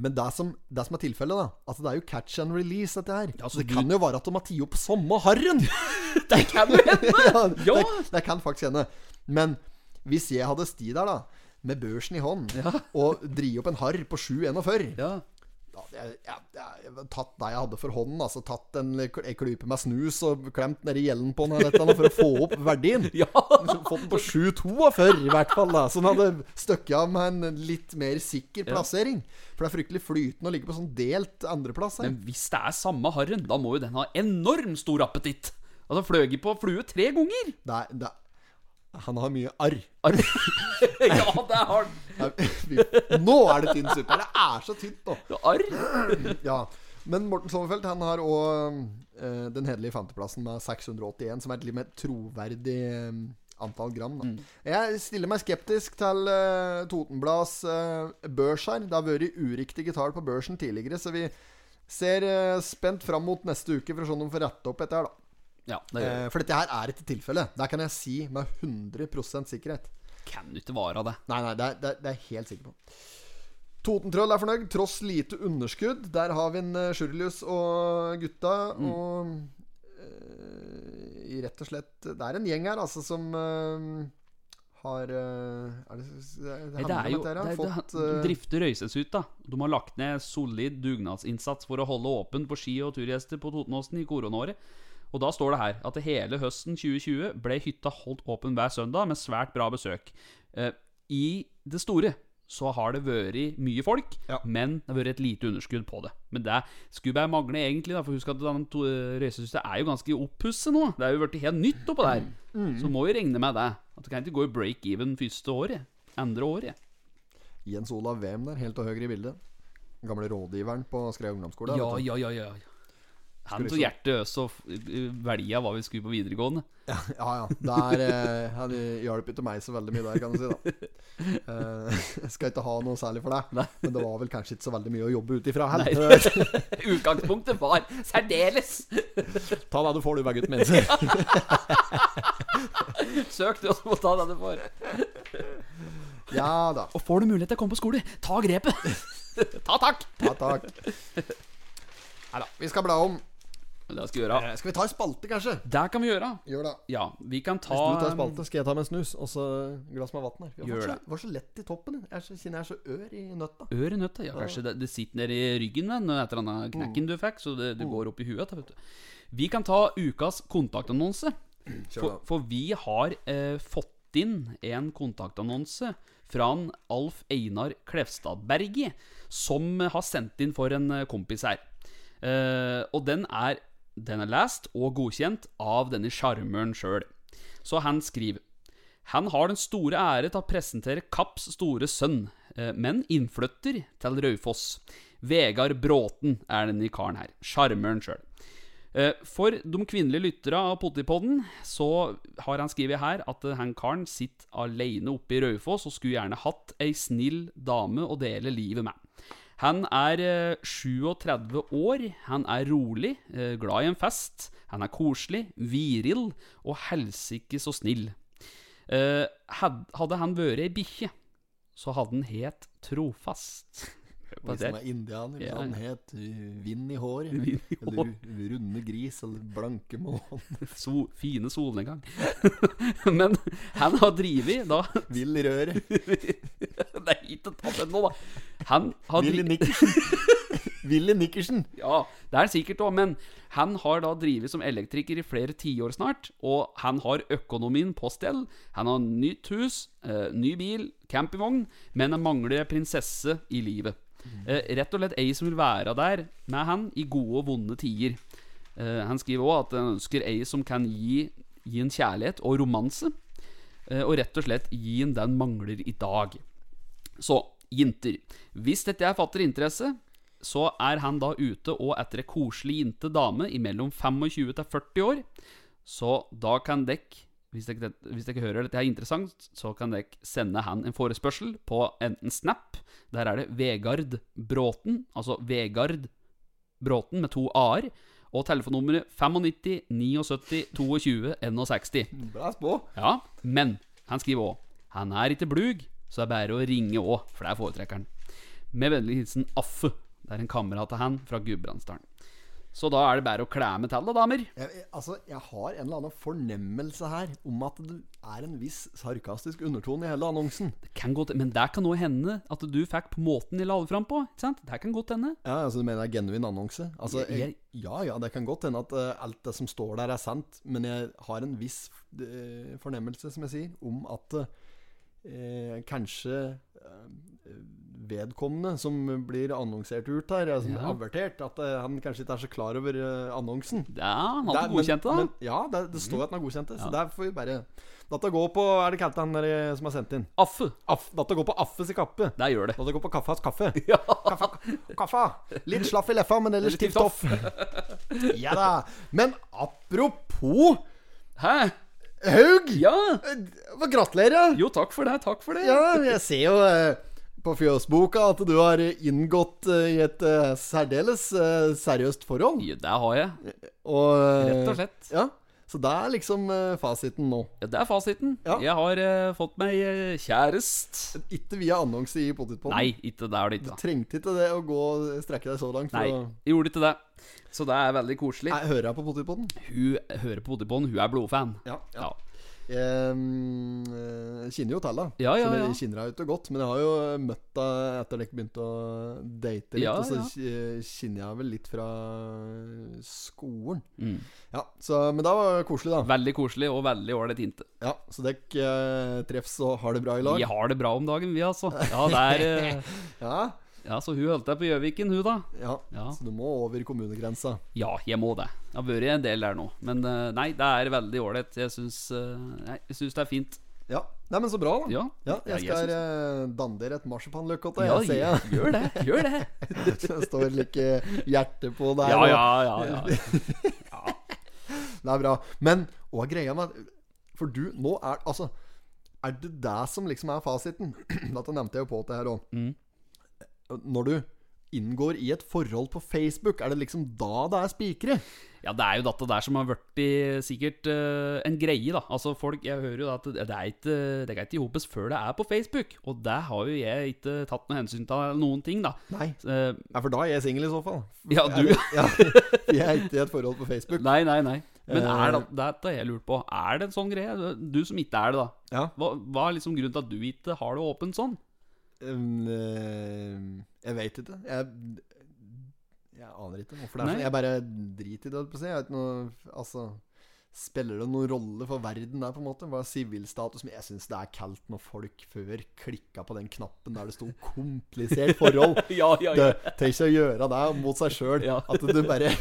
Speaker 1: men det som, det som er tilfellet, da Altså Det er jo catch and release, dette her.
Speaker 2: Ja, så
Speaker 1: det
Speaker 2: du-
Speaker 1: kan jo være at de har tatt opp samme harren!
Speaker 2: det kan jo hende!
Speaker 1: ja,
Speaker 2: Ja.
Speaker 1: det, det kan faktisk hende. Men hvis jeg hadde sti der, da, med børsen i hånd, og dri opp en harr på 7,41
Speaker 2: Ja.
Speaker 1: ja, jeg, jeg, jeg, jeg, tatt det jeg hadde for hånden, altså tatt en, en klype med snus og klemt nedi gjelden på den eller et eller annet for å få opp verdien.
Speaker 2: ja.
Speaker 1: Så Fått den på 7,42 i hvert fall, da. Så den hadde stukket av med en litt mer sikker plassering. For det er fryktelig flytende å ligge på sånn delt andreplass her.
Speaker 2: Men hvis det er samme harren, da må jo den ha enormt stor appetitt. Og den fløy på flue tre ganger.
Speaker 1: Det er, det er, han har mye arr.
Speaker 2: Ar- ja, det er hardt.
Speaker 1: Fy- Nå er det tynn suppe! Det er så tynt nå.
Speaker 2: Arr.
Speaker 1: Ja. Men Morten Sommerfeld han har òg eh, den hederlige femteplassen med 681, som er et litt mer troverdig eh, antall gram. Da. Jeg stiller meg skeptisk til eh, Totenblads eh, børs her. Det har vært uriktige tall på børsen tidligere, så vi ser eh, spent fram mot neste uke for å se om de får rette opp dette her, da.
Speaker 2: Ja, det
Speaker 1: Eh, for dette her er ikke tilfellet. Det kan jeg si med 100 sikkerhet.
Speaker 2: kan jo ikke være Eh, det.
Speaker 1: Nei, nei, det er, det er, det er jeg helt sikker på. Totentroll er fornøyd, tross lite underskudd. Der har vi en eh, Sjurlius og gutta.
Speaker 2: Mm.
Speaker 1: Og eh, i rett og slett Det er en gjeng her, altså, som eh, har eh, Er det, det,
Speaker 2: Nei, det
Speaker 1: handler
Speaker 2: er
Speaker 1: om at dere har
Speaker 2: jo det, er- det,
Speaker 1: fått
Speaker 2: er- De
Speaker 1: eh,
Speaker 2: drifter Røyseshytta. De har lagt ned solid dugnadsinnsats for å holde åpen på ski og turgjester på Totenåsen i koronaåret. Og da står det her at hele høsten 2020 ble hytta holdt åpen hver søndag med svært bra besøk. Eh, I det store så har det vært mye folk,
Speaker 1: Ja.
Speaker 2: men det har vært et lite underskudd på det. Men det skulle bare mangle, egentlig. Da, for husk at denne to- racerhuset er jo ganske oppusset nå. Det er jo blitt helt nytt oppå der. Så må jo regne med det. At det kan ikke gå i break-even første året. Andre året.
Speaker 1: eh, Jens Olav Wem der, helt til høyre i bildet. Den Gamle rådgiveren på Skreia ungdomsskole.
Speaker 2: Ja,
Speaker 1: vet du.
Speaker 2: ja, ja. ja. Han tok hjertet øs og f- velja hva vi skulle på videregående.
Speaker 1: ja, ja. Der eh, han hjalp ikke meg så veldig mye der, kan du si. da eh, Jeg skal ikke ha noe særlig for deg, men det var vel kanskje ikke så veldig mye å jobbe ut ifra heller.
Speaker 2: Utgangspunktet var særdeles
Speaker 6: Ta det du får, du, hver gutt min.
Speaker 2: Søk du, og så må ta det du får.
Speaker 1: Ja da.
Speaker 2: Og får du mulighet til å komme på skole, ta grepet! ta takk!
Speaker 1: Ja, takk. Neida, Vi skal bla om.
Speaker 2: Det skal vi gjøre.
Speaker 1: Eh, Skal vi ta en spalte, kanskje?
Speaker 2: Det kan vi gjøre.
Speaker 1: Gjør det.
Speaker 2: Ja, vi kan ta
Speaker 1: Hvis du tar spalte, skal jeg ta med en snus og så glass med vann her. Jeg
Speaker 2: Gjør
Speaker 1: var så,
Speaker 2: det.
Speaker 1: var så lett i toppen. Jeg er så, kjenner jeg er så ør i nøtta.
Speaker 2: Ør i nøtta. Ja, kanskje det, det sitter nede i ryggen den, etter denne
Speaker 1: Mm.
Speaker 2: knekken du fikk, så det, det går opp i huet. da, Vet du. Vi kan ta ukas kontaktannonse. For, for vi har eh, fått inn en kontaktannonse fra en Alf Einar Klevstadberget, som eh, har sendt inn for en eh, kompis her. Eh, og den er, den er lest og godkjent av denne sjarmøren sjøl. Så han skriver han har den store ære til å presentere Kapps store sønn, eh, men innflytter til Raufoss. Vegard Bråten er denne karen her. Sjarmøren sjøl. Eh, For de kvinnelige lyttere av Pottipodden så har han skrevet her at eh, han karen sitter alene oppe i Raufoss og skulle gjerne hatt ei snill dame å dele livet med. Han er eh, 37 år, han er rolig, eh, glad i en fest, han er koselig, viril og helsike så snill. Eh, had- Hadde han vært ei bikkje, så hadde han het Trofast. Hør på
Speaker 1: Hvis
Speaker 2: det
Speaker 1: han er indianer, hvis
Speaker 2: Ja.
Speaker 1: han het uh, Vind i håret,
Speaker 2: Vind i
Speaker 1: eller ru- runde gris, eller blanke mål,
Speaker 2: so, fine solnedgang. Men han har drevet da
Speaker 1: vill i røret,
Speaker 2: Nei, ikke ta den nå, da. Han har
Speaker 1: vill i
Speaker 2: drivet
Speaker 1: Nikkersen. Willy Nikkersen.
Speaker 2: Ja, det er sikkert òg, men han har da drevet som elektriker i flere tiår snart. Og han har økonomien på stell. Han har nytt hus, eh, ny bil, campingvogn, men han mangler en prinsesse i livet. Eh, rett og slett ei som vil være der med han i gode og vonde tider. Eh, han skriver òg at han ønsker ei som kan gi, gi en kjærlighet og romanse. eh, og rett og slett gi en den mangler i dag. Så, jenter. Hvis dette her fatter interesse, så er han da ute og etter ei koselig jente dame imellom 25 til 40 år. Så da kan dekk hvis dere, hvis dere hører dette er interessant, så kan dere sende han en forespørsel på enten Snap Der er det Vegard Bråten, altså Vegard Bråten med to a-er. Og telefonnummeret 95 79 22 61.
Speaker 1: Blæs på.
Speaker 2: Ja, men han skriver òg Han er ikke blug, så det er bare å ringe òg, for det er foretrekkeren. Med vennlig hilsen Affe. Det er en kamerat av han fra Gudbrandsdalen. Så da er det bare å klemme til det, damer.
Speaker 1: Jeg, jeg- altså, jeg har en eller annen fornemmelse her om at det er en viss sarkastisk undertone i hele annonsen.
Speaker 2: Det kan godt, men det kan nå hende at du fikk på måten de la det fram på. Ikke sant? Det kan godt hende.
Speaker 1: Ja, altså Du mener det er genuin annonse? Altså,
Speaker 2: Jeg-
Speaker 1: jeg, ja ja, det kan godt hende at eh, alt det som står der, er sant, men jeg har en viss eh, fornemmelse, som jeg sier, om at eh, kanskje eh, vedkommende som blir annonsert ut her, altså,
Speaker 2: Ja.
Speaker 1: avertert, at eh, han kanskje ikke er så klar over eh, annonsen.
Speaker 2: Ja, han
Speaker 1: Det
Speaker 2: hadde
Speaker 1: er-
Speaker 2: godkjent det,
Speaker 1: men-
Speaker 2: da. Mm.
Speaker 1: men- Ja, det, det står at han har godkjent det, så der får vi bare Dette går på Hva er det kalt han der eh, som er sendt inn?
Speaker 2: Affe.
Speaker 1: Aff, dette går på Affes i kappe.
Speaker 2: Der gjør det.
Speaker 1: Dette går på Kaffas kaffe.
Speaker 2: Ja.
Speaker 1: Kaffe, kaffe. Litt slaff i leffa, men ellers
Speaker 2: Ellers tipp
Speaker 1: tipp topp. Ja da. Men apropos
Speaker 2: Hæ?
Speaker 1: Haug!
Speaker 2: Ja.
Speaker 1: eh, Gratulerer.
Speaker 2: Jo, takk for det. Takk for det.
Speaker 1: Ja, jeg ser jo eh, på fjøsboka at du har inngått eh, i et eh, særdeles eh, seriøst forhold.
Speaker 2: Ja, det har jeg.
Speaker 1: Og, eh,
Speaker 2: Rett og slett.
Speaker 1: Ja, Så det er liksom eh, fasiten nå.
Speaker 2: Ja, det er fasiten.
Speaker 1: Ja.
Speaker 2: Jeg har eh, fått meg eh, kjærest.
Speaker 1: Ikke via annonse i Potetpodden.
Speaker 2: Nei, ikke det er det ikke. da.
Speaker 1: Trengte ikke det å gå strekke deg så langt. for
Speaker 2: Nei,
Speaker 1: å-
Speaker 2: jeg gjorde ikke det. Så det er veldig koselig.
Speaker 1: Nei, hører jeg på Potetpodden?
Speaker 2: Hun hører på Odibon, hun er blodfan.
Speaker 1: Ja, ja.
Speaker 2: Ja.
Speaker 1: Ehm, eh, kjenner jo til det.
Speaker 2: Ja,
Speaker 1: så
Speaker 2: ja,
Speaker 1: det
Speaker 2: ja.
Speaker 1: kjenner jeg jo ikke godt. Men jeg har jo møtt henne etter dere begynte å date litt.
Speaker 2: Ja,
Speaker 1: og så
Speaker 2: ja.
Speaker 1: ki- kjenner jeg vel litt fra skolen.
Speaker 2: Mm.
Speaker 1: Ja, så, Men det var koselig, da.
Speaker 2: Veldig koselig og veldig ålreit hinte.
Speaker 1: Ja, Så dere eh, treffs og har det bra i lag?
Speaker 2: Vi har det bra om dagen, vi, altså. Ja, det er eh,
Speaker 1: Ja,
Speaker 2: Ja, så hun holdt deg på Gjøviken, hun, da.
Speaker 1: ja.
Speaker 2: Ja.
Speaker 1: Så du må over kommunegrensa.
Speaker 2: Ja, jeg må det. Jeg har vært en del der nå. Men eh, nei, det er veldig ålreit. Jeg syns eh, Nei, jeg syns det er fint.
Speaker 1: Ja. Nei, men så bra, da.
Speaker 2: Ja. Ja,
Speaker 1: jeg
Speaker 2: jeg
Speaker 1: skal
Speaker 2: synes det.
Speaker 1: eh, danne dere et marsipanløkkotte,
Speaker 2: Ja,
Speaker 1: jeg ser jeg.
Speaker 2: gjør det. Gjør det.
Speaker 1: Det står like hjerte på der.
Speaker 2: Ja,
Speaker 1: og-
Speaker 2: ja, ja. ja.
Speaker 1: Det er bra. Men hva er greia med For du, nå er Altså, er det det som liksom er fasiten? Dette nevnte jeg jo på til her òg.
Speaker 2: Mm.
Speaker 1: Når du inngår i et forhold på Facebook, er det liksom da det er spikere?
Speaker 2: Ja, det er jo dette der som har vært i sikkert eh, en greie, da. Altså, folk Jeg hører jo da at det det er ikke Det er ikke i hopes før det er på Facebook. Og det har jo jeg ikke tatt noe hensyn til eller noen ting, da.
Speaker 1: Nei.
Speaker 2: Eh,
Speaker 1: Nei, for da er jeg singel i så fall.
Speaker 2: ja,
Speaker 1: Er
Speaker 2: du
Speaker 1: det- Ja, jeg er ikke i et forhold på Facebook.
Speaker 2: Nei, nei, nei. Men
Speaker 1: Eh.
Speaker 2: er det, dette har jeg lurt på. Er det en sånn greie? Du som ikke er det, da.
Speaker 1: Ja.
Speaker 2: Hva, hva er liksom grunnen til at du ikke har det åpent sånn?
Speaker 1: Um, eh, jeg veit ikke. Jeg, jeg aner ikke hvorfor det er
Speaker 2: Nei.
Speaker 1: sånn. Jeg bare driter i det. holdt på å si. Jeg vet ikke noe, altså, spiller det noen rolle for verden der, på en måte? Hva er sivilstatus? Men jeg syns det er kaldt når folk før klikka på den knappen der det sto 'komplisert forhold'.
Speaker 2: Ja, ja,
Speaker 1: Det, tenk seg å gjøre det mot seg sjøl.
Speaker 2: Ja.
Speaker 1: At du bare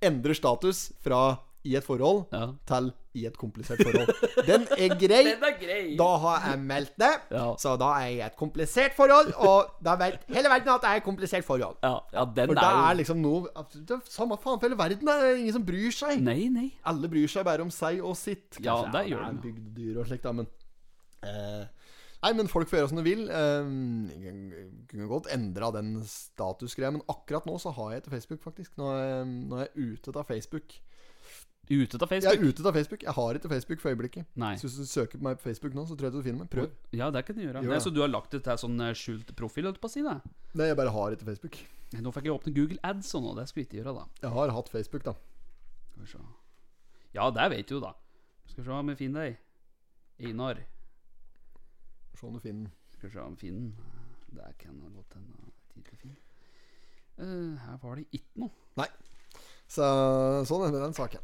Speaker 1: endrer status fra 'i et forhold'
Speaker 2: ja.
Speaker 1: til 'i et komplisert forhold'. Den er grei.
Speaker 2: er grei.
Speaker 1: Da har jeg meldt det.
Speaker 2: Ja.
Speaker 1: Så da er jeg i et komplisert forhold, og da vet hele verden at det er et komplisert forhold.
Speaker 2: Ja, ja den
Speaker 1: For det er
Speaker 2: er jo
Speaker 1: liksom noe det er Samme faen for hele verden, det er ingen som bryr seg.
Speaker 2: Nei, nei.
Speaker 1: Alle bryr seg bare om seg og sitt. Kanskje,
Speaker 2: Ja, det gjør
Speaker 1: er
Speaker 2: de, ja.
Speaker 1: Bygdedyr og slikt, da, men eh, Nei, men folk får gjøre som de vil. Eh, jeg kunne godt endra den statusgreia, men akkurat nå så har jeg ikke Facebook, faktisk. Nå er jeg, nå er jeg ute av Facebook.
Speaker 2: Ute av
Speaker 1: Jeg er
Speaker 2: Facebook.
Speaker 1: ute av Facebook. Jeg har ikke Facebook for øyeblikket.
Speaker 2: Nei.
Speaker 1: Så hvis du søker på meg på Facebook nå, så tror jeg du finner meg. Prøv.
Speaker 2: Ja, det kan du gjøre.
Speaker 1: Gjør
Speaker 2: Nei,
Speaker 1: det.
Speaker 2: så du har lagt det til sånn eh, skjult profil, holdt jeg på å si det?
Speaker 1: Nei, jeg bare har ikke Facebook.
Speaker 2: Nei, Nå fikk jeg åpne Google Ads og nå, det skulle jeg ikke gjøre, da.
Speaker 1: Jeg har hatt Facebook, da.
Speaker 2: Skal vi se. Ja, det vet du jo, da. Skal vi se om jeg finner deg. Einar.
Speaker 1: Se om du finner den.
Speaker 2: Skal vi se om jeg finner den. Der kan det godt hende. at jeg ikke finner. Eh, her var det ikke noe.
Speaker 1: Så, sånn er det med den saken.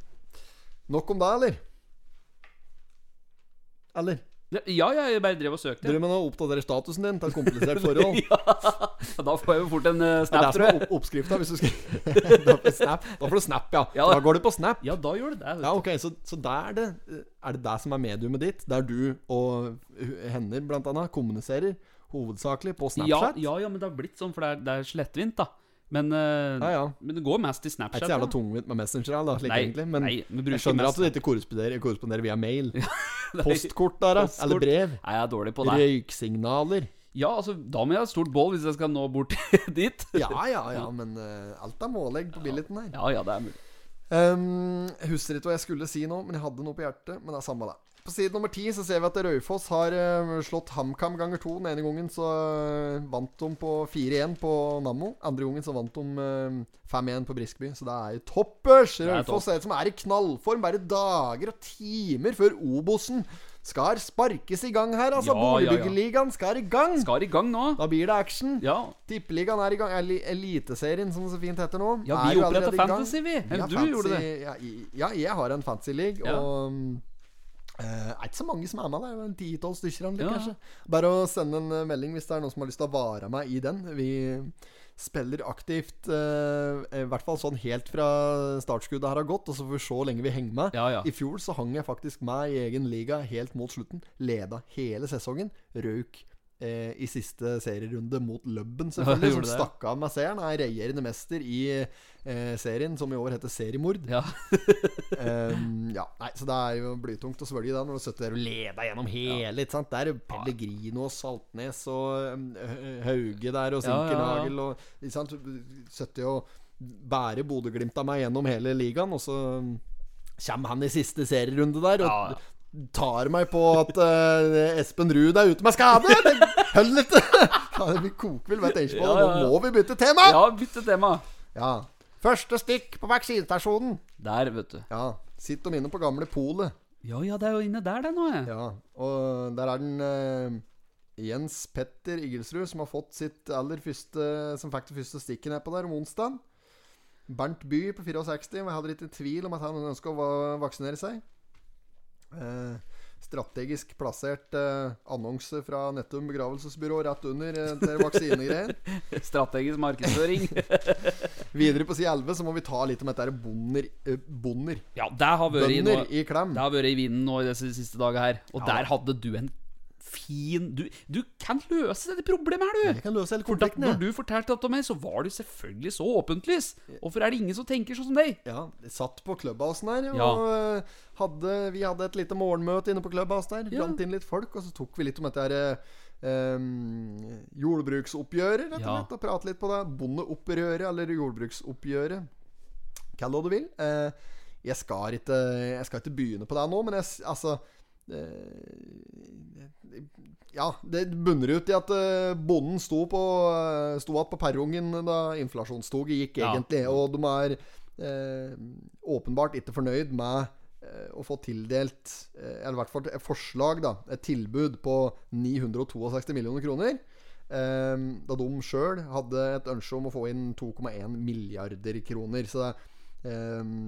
Speaker 1: Nok om deg, eller? Eller?
Speaker 2: Det- Ja, ja, jeg bare drev og søkte.
Speaker 1: Driver med å oppdatere statusen din til et komplisert forhold.
Speaker 2: ja, da får jeg jo fort en
Speaker 1: Det
Speaker 2: eh,
Speaker 1: er
Speaker 2: snap,
Speaker 1: det som
Speaker 2: tror
Speaker 1: er
Speaker 2: jeg.
Speaker 1: opp oppskrifta. Hvis du skal da, får du snap. da får du snap, ja.
Speaker 2: Ja.
Speaker 1: Da går det på snap.
Speaker 2: Ja, da gjør det det. vet
Speaker 1: Ja, ok, Så, så der er det Er det deg som er mediumet ditt? Der du og hu- hender, blant annet, kommuniserer hovedsakelig på
Speaker 2: du. ja,
Speaker 1: Snapchat?
Speaker 2: ja, ja, men det har blitt sånn, for det er, det er slettvint, da. Men, eh,
Speaker 1: ja. ja.
Speaker 2: men det går mest i
Speaker 1: Det er
Speaker 2: Snapchat.
Speaker 1: ikke så jævla
Speaker 2: da.
Speaker 1: tungvint med Messenger, da, slik
Speaker 2: Nei,
Speaker 1: egentlig, men
Speaker 2: nei, vi
Speaker 1: jeg
Speaker 2: bruker
Speaker 1: skjønner at
Speaker 2: mest
Speaker 1: du ikke korresponderer, korresponderer via mail.
Speaker 2: Nei.
Speaker 1: Postkort der, da. Eller
Speaker 2: Postkort.
Speaker 1: brev.
Speaker 2: Nei, jeg er dårlig på det.
Speaker 1: Røyksignaler.
Speaker 2: Ja, altså, da må jeg ha et stort bål hvis jeg skal nå bort dit.
Speaker 1: Ja, ja, ja, men eh, alt er målegg på billeten her.
Speaker 2: Ja, ja, det er mulig.
Speaker 1: Um, husker ikke hva jeg skulle si nå, men jeg hadde noe på hjertet. Men det er samme det. På side nummer ti så ser vi at Raufoss har eh, slått HamKam ganger to. Den ene gangen så eh, vant de på 4-1 på Nammo. Andre gangen så vant de eh, 5-1 på Briskeby. Så det er jo toppers!
Speaker 2: er
Speaker 1: Raufoss er et som er i knallform bare dager og timer før Obosen skal sparkes i gang her, altså.
Speaker 2: Ja, ja, ja.
Speaker 1: Boligbyggerligaen skal i gang!
Speaker 2: Skal i gang nå.
Speaker 1: Da blir det action.
Speaker 2: Ja,
Speaker 1: Tippeligaen er i gang. Eli- Eliteserien, som det så fint heter nå.
Speaker 2: ja
Speaker 1: er
Speaker 2: vi
Speaker 1: jo allerede
Speaker 2: oppretta
Speaker 1: i gang.
Speaker 2: Fantasy, vi. Eller
Speaker 1: Ja,
Speaker 2: du
Speaker 1: fantasy-
Speaker 2: gjorde det.
Speaker 1: Ja, i- ja, jeg har en fancy league,
Speaker 2: Ja.
Speaker 1: og um, eh, er ikke så mange som er med. Det er jo en 10-12 stykker, eller,
Speaker 2: Ja.
Speaker 1: kanskje. Bare å sende en eh, melding hvis det er noen som har lyst til å vare meg i den. Vi spiller aktivt, eh, i hvert fall sånn helt fra startskuddet her har gått, og så får vi se hvor lenge vi henger med.
Speaker 2: Ja, ja.
Speaker 1: I fjor så hang jeg faktisk med i egen liga helt mot slutten. Leda hele sesongen. Røyk eh, i siste serierunde mot Løbben, selvfølgelig. som
Speaker 2: gjorde det.
Speaker 1: stakk av med seieren. Er regjerende mester i eh, serien, som i år heter Seriemord.
Speaker 2: Ja,
Speaker 1: Ehm, ja, nei, Så det er jo blytungt å svølge det når du sitter der og leder gjennom hele. Ikke sant? Det er jo Pellegrino og Saltnes og um, Hø- Hauge der og
Speaker 2: Ja, ja, ja.
Speaker 1: Sinkernagel og ikke sant? Du Sitter jo og bærer Bodø-Glimt av meg gjennom hele ligaen, og så um, kommer han i siste serierunde der og
Speaker 2: Ja, ja.
Speaker 1: tar meg på at eh, Espen Ruud er ute med skade! Det holder ikke! Ja, vi koker vel hvert eneste på
Speaker 2: Ja,
Speaker 1: det.
Speaker 2: ja, ja.
Speaker 1: Nå må vi bytte tema!
Speaker 2: ja bytte tema.
Speaker 1: Ja. Første stikk på vaksinestasjonen.
Speaker 2: Der, vet du.
Speaker 1: Ja. Sitt dem inne på gamle polet.
Speaker 2: Ja ja, det er jo inne der, det nå. Ja.
Speaker 1: Ja, og der er den eh, Jens Petter Igelsrud som har fått sitt aller første Som fikk det første stikket nedpå der om onsdag. Bernt By på 64 var heller ikke i tvil om at han ønska å va- vaksinere seg. Eh, strategisk plassert eh, annonse fra Nettum begravelsesbyrå rett under eh, til vaksinegreier.
Speaker 2: Strategisk markedsføring.
Speaker 1: Videre på side 11 så må vi ta litt om dette her bonder, eh, bonder
Speaker 2: Ja, det har vært i
Speaker 1: Bønder
Speaker 2: nå
Speaker 1: i klem.
Speaker 2: Det har vært i vinden nå i disse siste dager her. Og
Speaker 1: Ja.
Speaker 2: der hadde du en fin Du, du kan løse dette problemet her,
Speaker 1: Jeg
Speaker 2: du!
Speaker 1: kan løse hele
Speaker 2: For da,
Speaker 1: konflikten,
Speaker 2: når
Speaker 1: jeg.
Speaker 2: du fortalte dette om meg, så var du selvfølgelig så åpentlys. Hvorfor er det ingen som tenker sånn som deg?
Speaker 1: Ja, de satt på klubbhausen her,
Speaker 2: Ja.
Speaker 1: og eh, hadde, vi hadde et lite morgenmøte inne på klubbhausen der.
Speaker 2: Ja.
Speaker 1: Blant inn litt folk, og så tok vi litt om dette her eh, em, jordbruksoppgjøret, rett og
Speaker 2: Ja.
Speaker 1: slett. Og prate litt på det. Bondeopprøret, eller jordbruksoppgjøret. Kall det hva du vil. Eh, jeg, skal ikke, eh, jeg skal ikke begynne på det nå, men jeg, s- altså eh, Ja, det bunner ut i at eh, bonden sto på eh, Sto igjen på perrongen da inflasjonstoget gikk,
Speaker 2: Ja.
Speaker 1: egentlig. Og de er eh, åpenbart ikke fornøyd med eh, å få tildelt eh, Eller i hvert fall et forslag, da. Et tilbud på 962 millioner kroner. Eh, da de sjøl hadde et ønske om å få inn 2,1 milliarder kroner. Så det eh,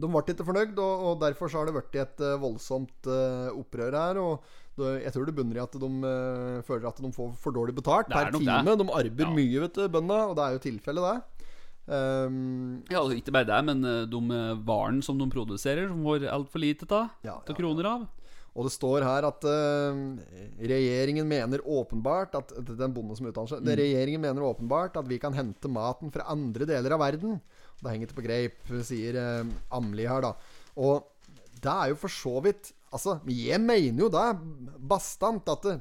Speaker 1: de ble ikke fornøyd, og, og derfor så har det blitt et eh, voldsomt eh, opprør her. Og det, jeg tror det bunner i at de eh, føler at de får for dårlig betalt
Speaker 2: Det er
Speaker 1: per
Speaker 2: nok
Speaker 1: time.
Speaker 2: det.
Speaker 1: De arbeider
Speaker 2: Ja.
Speaker 1: mye, vet du, bøndene, og det er jo tilfellet, det. Ehm,
Speaker 2: Ja, og Ikke bare det, men eh, de eh, varen som de produserer, som får altfor lite av
Speaker 1: Ja, ja,
Speaker 2: til kroner av.
Speaker 1: og det står her at eh, regjeringen mener åpenbart at det er Den bonden som uttaler
Speaker 2: Mm.
Speaker 1: seg. Regjeringen mener åpenbart at vi kan hente maten fra andre deler av verden. Det henger ikke på greip, sier eh, Amli her, da. Og det er jo for så vidt Altså, jeg mener jo det bastant at eh,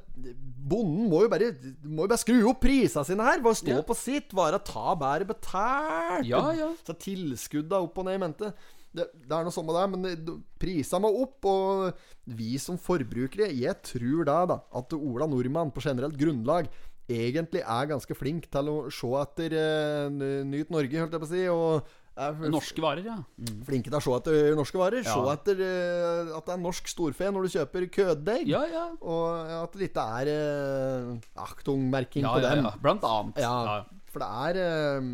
Speaker 1: bonden må jo bare, må jo bare skru opp prisene sine her. Bare stå
Speaker 2: Ja.
Speaker 1: på sitt. Bare ta bedre betalt.
Speaker 2: Ja, ja.
Speaker 1: Så tilskudda opp og ned i mente. Det, det er noe sånn med det, men det- prisene må opp. Og vi som forbrukere, jeg tror da, da at Ola Nordmann på generelt grunnlag egentlig er ganske flink til å se etter eh, Nyt Norge, holdt jeg på å si. Og er
Speaker 2: Norske varer, ja.
Speaker 1: flinke til å se etter norske varer. Se
Speaker 2: Ja.
Speaker 1: etter eh, at det er norsk storfe når du kjøper køddeig.
Speaker 2: Ja, ja.
Speaker 1: Og at det ikke er eh, Achtung-merking
Speaker 2: Ja,
Speaker 1: på
Speaker 2: ja,
Speaker 1: dem.
Speaker 2: ja. Blant annet.
Speaker 1: Ja, for det er eh,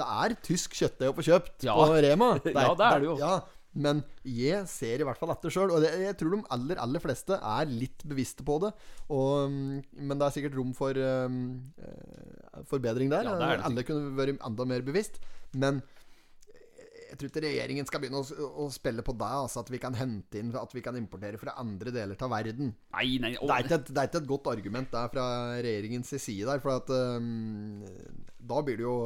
Speaker 1: Det er tysk kjøttdeig å få kjøpt
Speaker 2: Ja.
Speaker 1: på Rema.
Speaker 2: Ja, det er det jo.
Speaker 1: Ja, men jeg ser i hvert fall etter sjøl, og det, jeg tror de aller aller fleste er litt bevisste på det. Og, mm, men det er sikkert rom for um, eh, forbedring der.
Speaker 2: Ja, det er det
Speaker 1: Alle kunne vært enda mer bevisst. Men jeg tror ikke regjeringen skal begynne å, s- å spille på det, altså at vi kan hente inn At vi kan importere fra andre deler av verden.
Speaker 2: Nei, nei. å,
Speaker 1: Det er, ikke et, det er ikke et godt argument der fra regjeringens side der, for at ehm, da blir det jo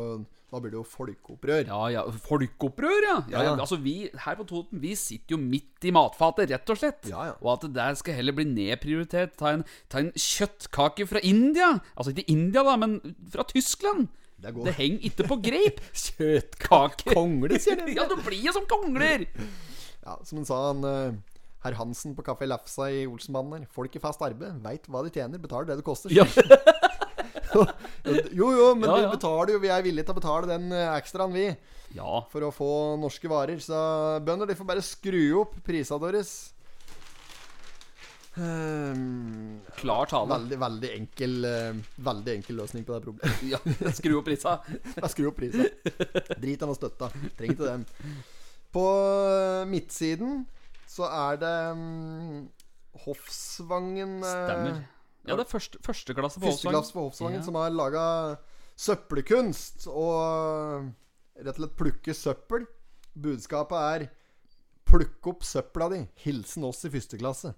Speaker 1: Da blir det jo folkeopprør.
Speaker 2: Ja, ja. Folkeopprør, ja. ja, ja.
Speaker 1: Ja.
Speaker 2: Altså, vi her på Toten Vi sitter jo midt i matfatet, rett og slett.
Speaker 1: Ja, ja.
Speaker 2: Og at det der skal heller bli nedprioritert. Ta en, ta en kjøttkake fra India. Altså ikke India, da, men fra Tyskland.
Speaker 1: Det går.
Speaker 2: Det henger ikke på greip.
Speaker 1: Kjøttkake. Kongle, sier de.
Speaker 2: ja, du blir jo som kongler!
Speaker 1: Ja, som han sa, han eh, herr Hansen på Kafé Lafsa i Olsenbanden her. Folk i fast arbeid veit hva de tjener, betaler det det koster.
Speaker 2: Ja.
Speaker 1: Jo, jo, men
Speaker 2: Ja,
Speaker 1: vi
Speaker 2: ja.
Speaker 1: betaler jo. Vi er villige til å betale den eh, ekstraen, vi.
Speaker 2: ja.
Speaker 1: For å få norske varer. Så bønder, de får bare skru opp prisene deres. Ehm,
Speaker 2: Klar tale.
Speaker 1: Veldig, veldig enkel eh, Veldig enkel løsning på det problemet.
Speaker 2: Ja, skru opp prisa.
Speaker 1: Bare Skru opp prisen. Drit i noe støtte. Trenger ikke den. På eh, midtsiden så er det mm, Hofsvangen eh,
Speaker 2: Stemmer. Ja, det er første, første klasse på Holsvang.
Speaker 1: Førsteklasse på Hofsvangen
Speaker 2: Ja.
Speaker 1: som har laga søppelkunst og eh, rett og slett plukke søppel. Budskapet er 'plukk opp søpla di'. Hilsen oss i første klasse.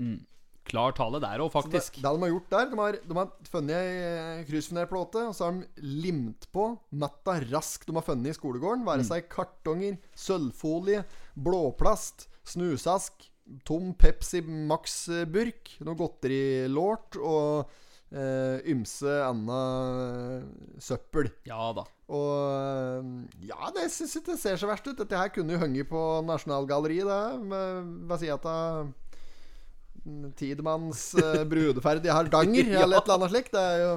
Speaker 2: Klar tale der òg,
Speaker 1: Så det,
Speaker 2: faktisk.
Speaker 1: det de har gjort der, de har, de har funnet ei kryssfinerplate, og så har de limt på matta raskt de har funnet i skolegården. Være seg kartonger, sølvfolie, blåplast, snusask, tom Pepsi Max-burk, noe godterilort og eh, ymse anna eh, søppel.
Speaker 2: Ja da.
Speaker 1: Og eh, ja, det syns ikke det ser så verst ut. Dette her kunne jo hengt på Nasjonalgalleriet, det. Med, hva sier jeg til Tidemanns eh, brudeferd i Hardanger,
Speaker 2: Ja.
Speaker 1: eller et eller annet slikt. Det er jo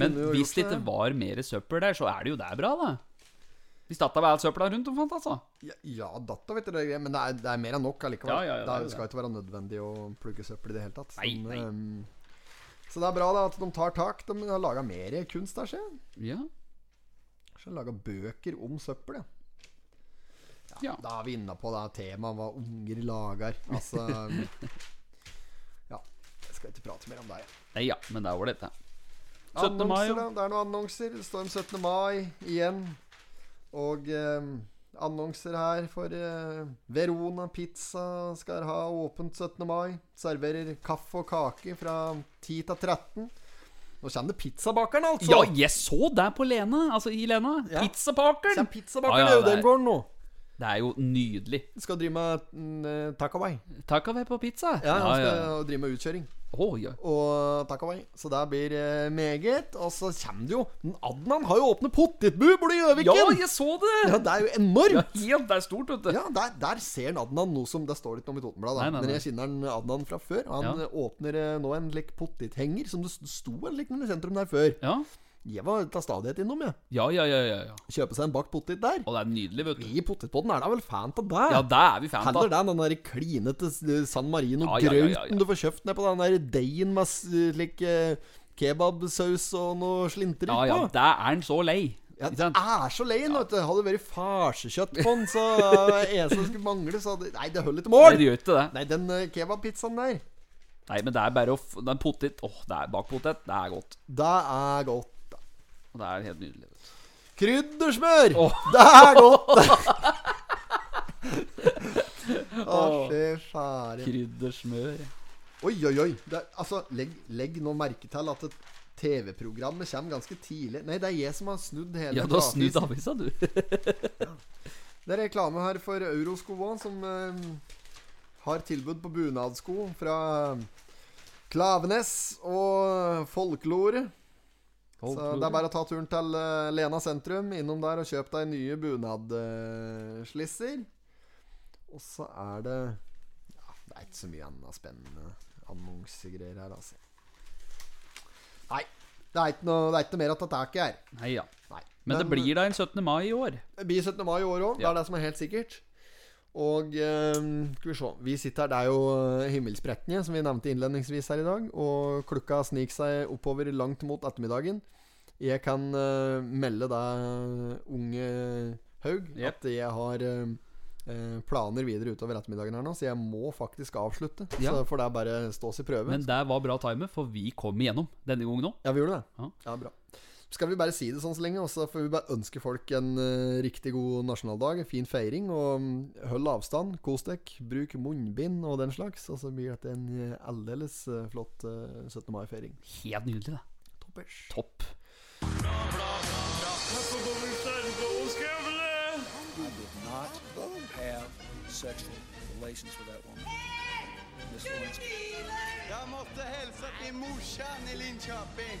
Speaker 2: Men
Speaker 1: Kunne jo
Speaker 2: hvis
Speaker 1: gjort
Speaker 2: det ikke
Speaker 1: det.
Speaker 2: var mer søppel der, så er det jo der bra, da. Hvis dette var all søpla rundt omfant, altså.
Speaker 1: Ja, ja datta, vet du. det er greit, Men det er, det er mer enn nok allikevel.
Speaker 2: Ja, ja, ja,
Speaker 1: det, er,
Speaker 2: det er
Speaker 1: skal ikke være nødvendig å plugge søppel i det hele tatt.
Speaker 2: Nei, nei.
Speaker 1: ehm, så det er bra da at de tar tak. De har laga mer kunst der, ser jeg.
Speaker 2: Ja.
Speaker 1: Kanskje laga bøker om søppel, ja.
Speaker 2: Ja.
Speaker 1: Da er vi inne på det temaet hva unger lager. Altså um, Ja. Jeg skal ikke prate mer om det. jeg.
Speaker 2: Nei, ja, men det er ålreit, det. 17. mai,
Speaker 1: Annonser,
Speaker 2: jo.
Speaker 1: da. Det er noen annonser. Det står om 17. mai igjen. Og um, annonser her for eh, Verona Pizza skal ha åpent 17. mai. Serverer kaffe og kake fra 10 til 13. Nå kommer det pizzabakeren, altså!
Speaker 2: Ja, jeg så deg på Lena. Altså i Lena.
Speaker 1: Ja.
Speaker 2: Pizzabakeren.
Speaker 1: Kommer pizzabakeren,
Speaker 2: Ja,
Speaker 1: det er
Speaker 2: ja,
Speaker 1: jo
Speaker 2: det
Speaker 1: den
Speaker 2: er-
Speaker 1: gården nå.
Speaker 2: Det er jo nydelig.
Speaker 1: Skal drive med mm, takeaway.
Speaker 2: Takeaway på pizza.
Speaker 1: Ja, han skal drive med utkjøring.
Speaker 2: Å, ja.
Speaker 1: og takeaway. Så det blir eh, meget. Og så kommer det jo Men Adnan har jo åpnet potetbu borte i
Speaker 2: ja,
Speaker 1: Gjøviken!
Speaker 2: jeg så det!
Speaker 1: Ja, det er jo enormt!
Speaker 2: Helt, det er stort, vet du.
Speaker 1: Ja, der, der ser han Adnan noe som Det står litt om i Totenbladet.
Speaker 2: Nei,
Speaker 1: da.
Speaker 2: nei,
Speaker 1: Men
Speaker 2: nei.
Speaker 1: jeg kjenner han Adnan fra før. Han
Speaker 2: Ja.
Speaker 1: eh, åpner eh, nå en lek potethenger, som det s- sto en lignende i sentrum der før.
Speaker 2: Ja,
Speaker 1: Jeg var til stadighet innom, jeg.
Speaker 2: ja, ja. ja, ja, ja.
Speaker 1: Kjøpe seg en bakt potet der.
Speaker 2: Og det er nydelig, vet du.
Speaker 1: I potetpodden er da vel fan av det?
Speaker 2: Ja, det er vi fan
Speaker 1: Heller
Speaker 2: av.
Speaker 1: det enn den der klinete s- eh, San
Speaker 2: Ja, ja, ja,
Speaker 1: Marino-grauten
Speaker 2: ja, ja.
Speaker 1: du får kjøpt ned på den der deigen med slik eh, kebabsaus og noe slinter
Speaker 2: Ja,
Speaker 1: utpå.
Speaker 2: ja, det er han så lei.
Speaker 1: Ja,
Speaker 2: Ikke
Speaker 1: det
Speaker 2: sant?
Speaker 1: er så lei nå, vet du. Hadde det vært farsekjøtt på den, så eh, eneste som skulle mangle, så hadde Nei, det holder ikke
Speaker 2: Nei,
Speaker 1: mål!
Speaker 2: det gjør ikke det.
Speaker 1: Nei, den eh, kebabpizzaen der,
Speaker 2: Nei, men det er bare å f... Det er potet. Åh, det er bakt potet. Det er godt.
Speaker 1: det er godt. da.
Speaker 2: Og det er helt nydelig. Vet du.
Speaker 1: Kryddersmør!
Speaker 2: Åh.
Speaker 1: Det er godt! Å, fy fare.
Speaker 2: Kryddersmør.
Speaker 1: Oi, oi, oi. Det er, altså, legg, legg nå merke til at et TV-programmet kommer ganske tidlig. Nei, det er jeg som har snudd hele
Speaker 2: Ja, du har
Speaker 1: plata.
Speaker 2: snudd avisa, du.
Speaker 1: Det er reklame her for Eurosko også, som eh, har tilbud på bunadsko fra Klavenes og Folklore. Så det er bare å ta turen til eh, Lena sentrum, innom der og kjøp deg nye bunadslisser. og så er det Ja, det er ikke så mye annet spennende annonsegreier her, altså. Nei. Det er ikke noe, det er ikke noe mer å ta tak i her.
Speaker 2: Nei, ja.
Speaker 1: Nei.
Speaker 2: Men, det blir da en 17. mai i år.
Speaker 1: Det blir 17. mai i år òg. Det
Speaker 2: Ja.
Speaker 1: er det som er helt sikkert. Og eh, skal vi se Vi sitter her, det er jo eh, himmelsprekkene, som vi nevnte innledningsvis her i dag. Og klokka sniker seg oppover langt mot ettermiddagen. Jeg kan eh, melde deg, eh, unge Haug,
Speaker 2: Jep.
Speaker 1: at jeg har eh, eh, planer videre utover ettermiddagen her nå, så jeg må faktisk avslutte.
Speaker 2: Ja.
Speaker 1: Så får det bare stå sin prøve.
Speaker 2: Men det var bra timer, for vi kom igjennom denne gangen òg.
Speaker 1: Ja, vi gjorde det.
Speaker 2: Ja.
Speaker 1: Ja, bra. Skal vi bare si det sånn så lenge, og så får vi bare ønske folk en eh, riktig god nasjonaldag, en fin feiring, og mm, hold avstand, kos dere, bruk munnbind og den slags, og så blir dette en eh, aldeles eh, flott eh, 17. mai-feiring.
Speaker 2: Helt nydelig, det.
Speaker 1: Toppers.
Speaker 2: Topp.
Speaker 3: You did not have sexual relations with that woman. Miss Lewinsky.
Speaker 4: Jag måste hälsa till morsan i Linköping.